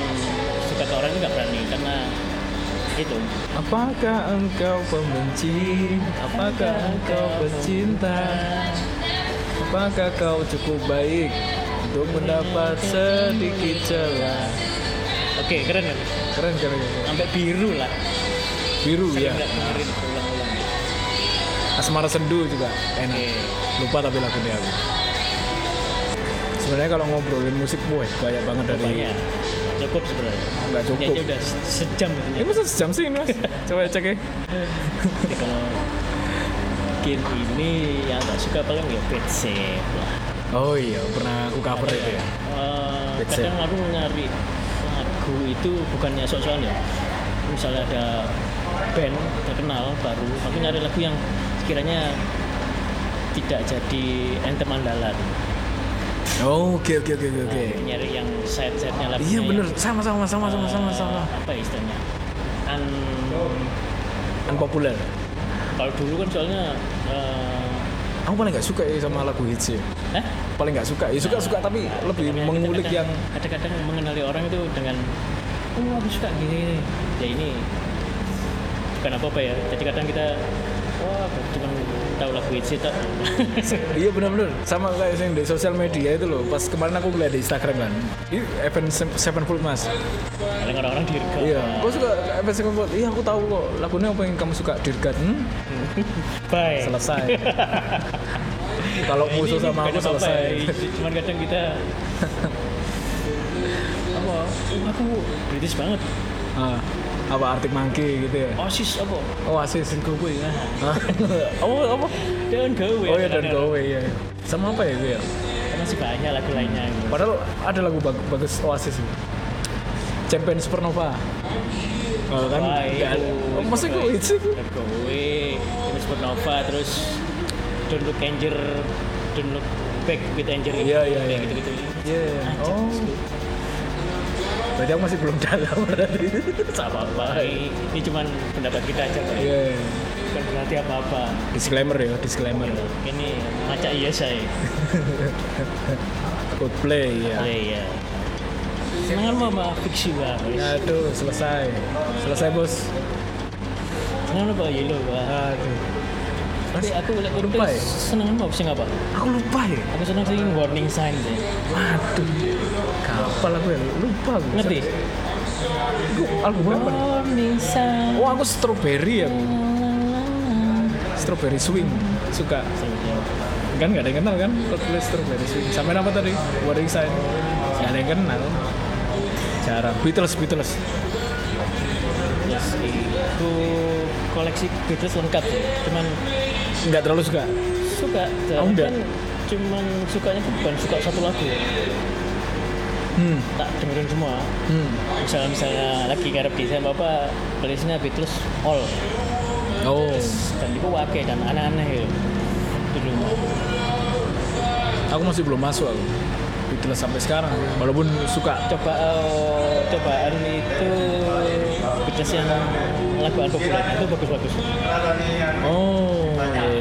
S2: suka ke orang itu nggak berani karena itu
S1: Apakah engkau pembenci? Apakah engkau pecinta? Maka kau cukup baik untuk mendapat sedikit celah.
S2: oke keren ya
S1: Keren keren. keren.
S2: sampai biru lah
S1: Biru ya.
S2: saya nggak dengerin ulang-ulang
S1: Asmara sendu juga enak.
S2: oke
S1: Lupa tapi lagunya aku. Sebenarnya kalau ngobrolin musik boy banyak banget dari
S2: banyak cukup sebenarnya
S1: nggak cukup.
S2: kayaknya udah se- sejam ya.
S1: Ini
S2: ini
S1: masa sejam sih ini mas. Coba cek ya.
S2: Oke, kalau mungkin ini yang tak suka paling ya bed shape lah
S1: Oh iya pernah aku cover itu ya.
S2: Eh,
S1: That's
S2: kadang aku nyari lagu itu bukannya sok-sokan ya misalnya ada band terkenal baru aku nyari lagu yang sekiranya tidak jadi anthem andalan
S1: Oh, Oke oke oke oke. oke.
S2: Nah, nyari yang side-sidenya lagunya
S1: Iya
S2: yang,
S1: bener sama sama sama sama sama
S2: eh,
S1: sama.
S2: apa istilahnya an
S1: Unpopular.
S2: kalau dulu kan soalnya eh,
S1: Aku paling nggak suka ya sama lagu hits ya.
S2: Hah?
S1: Paling nggak suka. Ya suka
S2: Nah.
S1: suka tapi lebih
S2: Kadang-
S1: mengulik
S2: kadang-
S1: yang
S2: kadang-kadang mengenali orang itu dengan oh aku suka gini, gini ya ini bukan apa apa ya jadi kadang kita wah aku cuma tahu lagu itu tak
S1: iya benar-benar sama kayak yang di sosial media itu loh pas kemarin aku lihat di Instagram kan ini event Se- Sevenfold mas
S2: paling orang-orang dirga
S1: iya kau suka event Sevenfold iya aku tahu kok lagunya apa yang kamu suka Dirgat hmm?
S2: bye
S1: selesai kalau
S2: Nah, Ini-
S1: musuh
S2: ini
S1: sama aku
S2: bukan apa-apa
S1: selesai
S2: ya, cuman kadang kita apa oh, aku British banget
S1: Ah, apa Arctic Monkey gitu ya
S2: osis apa
S1: Oasis
S2: go away lah
S1: Hah? oh apa
S2: don't go away
S1: oh ya dan Go Away ya sama apa ya itu ya
S2: masih banyak lagu lainnya
S1: padahal ada lagu bag- bagus Oasis itu. Champion Supernova Oh, kan,
S2: Wah,
S1: nggak ada.
S2: itu.
S1: Oh, maksudnya kok hits itu?
S2: Let Go Away, Miss Supernova, terus Don't Look Anger, Don't Look Back with Anger.
S1: Iya, iya, iya.
S2: gitu-gitu. ya.
S1: Iya.
S2: Ajak,
S1: Oh. Berarti aku masih belum dalam berarti.
S2: Tak apa-apa, ini, ini cuman pendapat kita aja, Pak.
S1: Iya.
S2: Bukan berarti apa-apa.
S1: Disclaimer ya, disclaimer.
S2: Ini maca iya saya.
S1: Coldplay ya.
S2: Play ya. Jangan lupa fiksi banget.
S1: Aduh, selesai. Selesai, Bos.
S2: Jangan lupa yellow Pak.
S1: Aduh.
S2: tapi aku lihat kopi
S1: lupa ya?
S2: seneng apa sih apa
S1: Aku lupa ya.
S2: aku seneng sih warning sign deh
S1: Waduh. Kapal aku ya. Lupa aku.
S2: ngerti
S1: Aku album apa nih?
S2: warning sign
S1: Oh aku strawberry aku. Strawberry swing. Suka. Kan nggak ada yang kenal kan? Coldplay strawberry swing. Sampai apa tadi? Warning sign. Nggak ada yang kenal. Jarang. Beatles, Beatles.
S2: Yes, itu koleksi Beatles lengkap sih cuman
S1: Nggak terlalu suka.
S2: suka
S1: Oh,
S2: tapi
S1: enggak.
S2: kan cuman sukanya tuh bukan suka satu lagu
S1: Hmm.
S2: tak dengerin semua
S1: Hmm.
S2: misalnya misalnya lagi ngarep di sama bapak playlistnya Beatles all
S1: Oh.
S2: dan itu wake dan aneh-aneh gitu itu dulu
S1: Aku masih belum masuk aku. Beatles sampai sekarang. Walaupun suka.
S2: coba eh, cobaan itu Beatles yang lagu populer itu bagus-bagus
S1: Oh.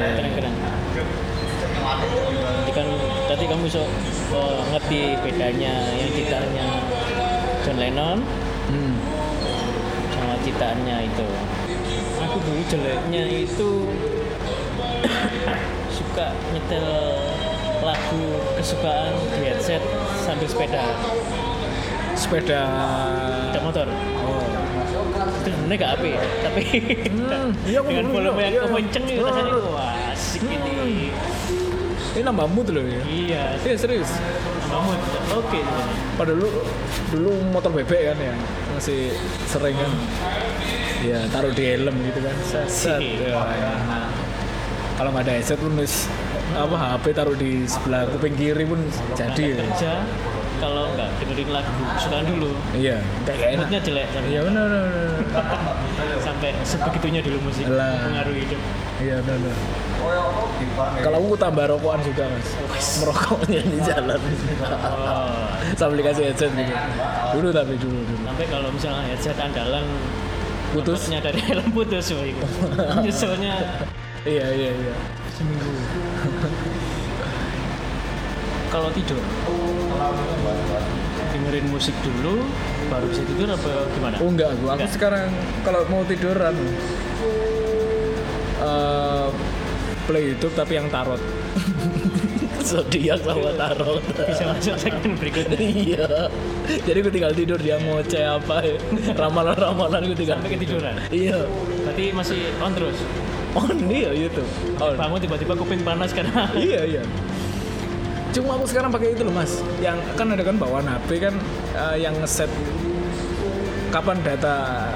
S2: keren-keren jadi kan tadi kamu bisa eh, ngerti bedanya yang gitarnya John Lennon
S1: Hmm.
S2: sama citaannya itu aku dulu jeleknya itu suka nyetel lagu kesukaan di headset sambil sepeda
S1: Sepeda.
S2: sepeda motor
S1: Oh.
S2: itu sebenarnya gak apa ya, tapi
S1: iya, aku
S2: dengan
S1: belum
S2: volume
S1: tahu.
S2: yang
S1: Iya.
S2: kemenceng itu
S1: Iya,
S2: rasanya
S1: iya.
S2: wah asik ini
S1: Hmm. Ini nambah mood loh ya.
S2: iya
S1: Iya serius.
S2: bangun oke
S1: Pada dulu dulu motor bebek kan ya masih sering kan. Ya taruh di helm gitu kan. Set. set. Ya, ya. Kalau nggak ada headset pun wis, apa HP taruh di sebelah kuping kiri pun jadi. ya.
S2: kerja kalau nggak dengerin lagu kesukaan dulu
S1: Iya. Kayak enak.
S2: moodnya jelek tapi
S1: Iya benar. benar, benar.
S2: sampai sebegitunya dulu musik
S1: Alah.
S2: pengaruh hidup
S1: Iya benar. benar. Kalau aku tambah rokokan juga mas. Merokoknya di jalan.
S2: oh.
S1: Sambil dikasih headset gitu. Dulu tapi dulu dulu.
S2: sampai kalau misalnya headset andalan
S1: Putus.
S2: kontaknya dari helm putus wah itu nyeselnya
S1: Iya iya iya.
S2: seminggu kalau tidur dengerin musik dulu baru bisa tidur apa gimana
S1: Oh enggak, aku, aku
S2: Enggak.
S1: sekarang kalau mau tiduran eh play YouTube tapi yang tarot. Zodiak sama tarot.
S2: bisa masuk segmen berikutnya
S1: iya. Jadi gue tinggal tidur dia ngoceh apa ya. Ramalan-ramalan gue tinggal
S2: sampai ketiduran
S1: Iya.
S2: berarti masih on terus
S1: On dia YouTube. On.
S2: bangun tiba-tiba kuping panas karena
S1: iya iya cuma aku sekarang pakai itu loh mas yang kan ada kan bawaan HP kan eh, yang ngeset kapan data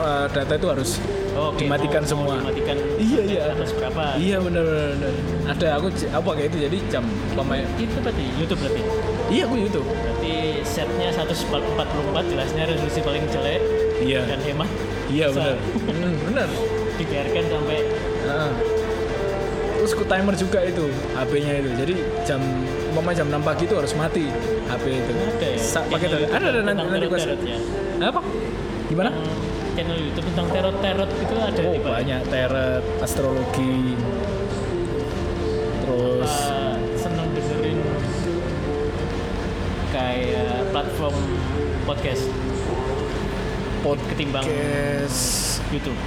S1: eh, data itu harus
S2: Oh, Oke,
S1: dimatikan
S2: mau-
S1: semua
S2: mau gitu. dimatikan
S1: Iya,
S2: sampai
S1: iya.
S2: atas berapa
S1: iya benar benar benar. ada aku j- aku pakai itu jadi jam pemain
S2: itu berarti YouTube berarti
S1: iya aku YouTube
S2: berarti setnya 144 jelasnya resolusi paling jelek
S1: Iya.
S2: dan hemat
S1: iya
S2: So,
S1: benar Hmm, benar
S2: dibiarkan sampai
S1: Ah. terus ku timer juga itu HP-nya itu jadi jam umpama jam 6 pagi itu harus mati HP itu
S2: ada ya
S1: Sa- pakai tarot
S2: channel YouTube
S1: ada ada nanti
S2: tentang
S1: nanti gua-
S2: terot-terot ya
S1: apa gimana
S2: Yang channel YouTube tentang terot-terot itu ada
S1: Oh,
S2: di Pak.
S1: banyak teret, astrologi. Terus
S2: Pak eh, seneng dengerin kayak platform podcast
S1: podcast.
S2: ketimbang YouTube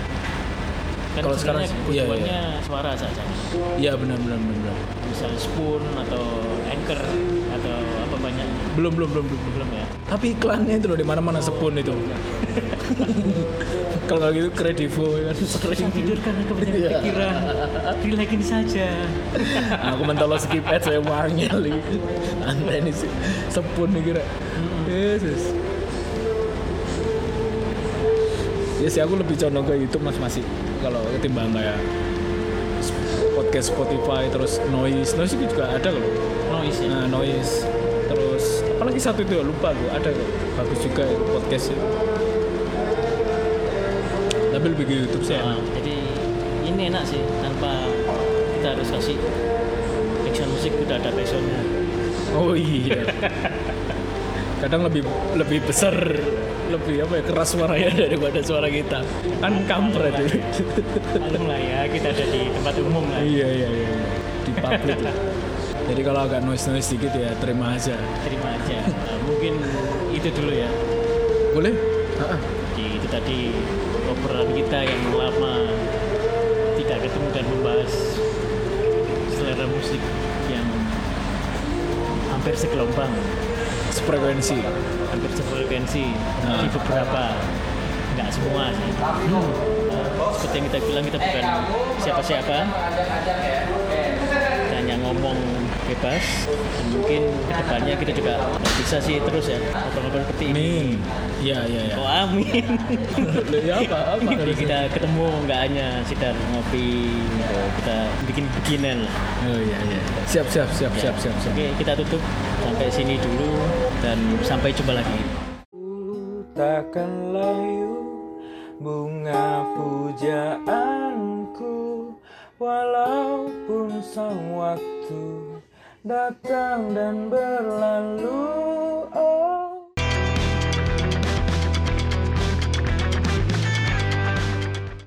S2: kan
S1: Kalau sekarang
S2: sebenarnya
S1: sih, iya, iya.
S2: kebutuhannya suara saja
S1: Ya benar benar benar. benar.
S2: misalnya Spoon atau Anchor atau apa banyak
S1: Belum belum belum belum. belum.
S2: belum ya
S1: Tapi iklannya itu loh di mana-mana sepun itu. Kalau nggak gitu kredivo ya kan sering.
S2: Bisa tidur karena kebanyakan
S1: Iya.
S2: pikiran Relaxin saja
S1: Aku mentolo skip ad saya uangnya lagi. Antai nih sih. Sepun nih kira. Yesus. Ya sih aku lebih condong ke YouTube mas masih kalau ketimbang kayak podcast Spotify terus noise noise itu juga ada loh
S2: Noise ya
S1: nah noise terus apalagi satu itu ya, lupa gue ada kok bagus juga ya, podcastnya tapi lebih ke YouTube sih
S2: Nah,
S1: enak.
S2: Jadi ini enak sih Tanpa kita harus kasih Background musik udah ada backsoundnya
S1: oh iya kadang lebih lebih besar lebih apa ya keras suaranya daripada suara kita kan kampret itu
S2: Malum lah ya kita ada di tempat umum lah
S1: iya iya iya di publik lah. jadi kalau agak noise noise dikit ya terima aja
S2: Terima aja Nah, Mungkin itu dulu ya
S1: boleh
S2: Jadi itu tadi obrolan kita yang lama Tidak ketemu dan membahas musik yang hampir segelombang,
S1: Sefrekuensi.
S2: hampir sefrekuensi
S1: Nah.
S2: di beberapa, nggak semua sih. Nah, seperti yang kita bilang kita bukan siapa-siapa dan yang ngomong bebas dan mungkin kedepannya kita juga bisa sih terus ya ngobrol-ngobrol seperti ini.
S1: Amin. Iya, iya, iya.
S2: Oh amin.
S1: Loh, Ya apa? Apa
S2: Jadi
S1: harusnya?
S2: kita ketemu nggak hanya sekedar ngopi, kita bikin bikinan lah.
S1: Oh iya, iya. Siap, siap, siap, siap, siap, siap.
S2: Oke, kita tutup sampai sini dulu dan sampai jumpa lagi.
S3: takkan layu bunga pujaanku walaupun sang waktu datang dan berlalu oh,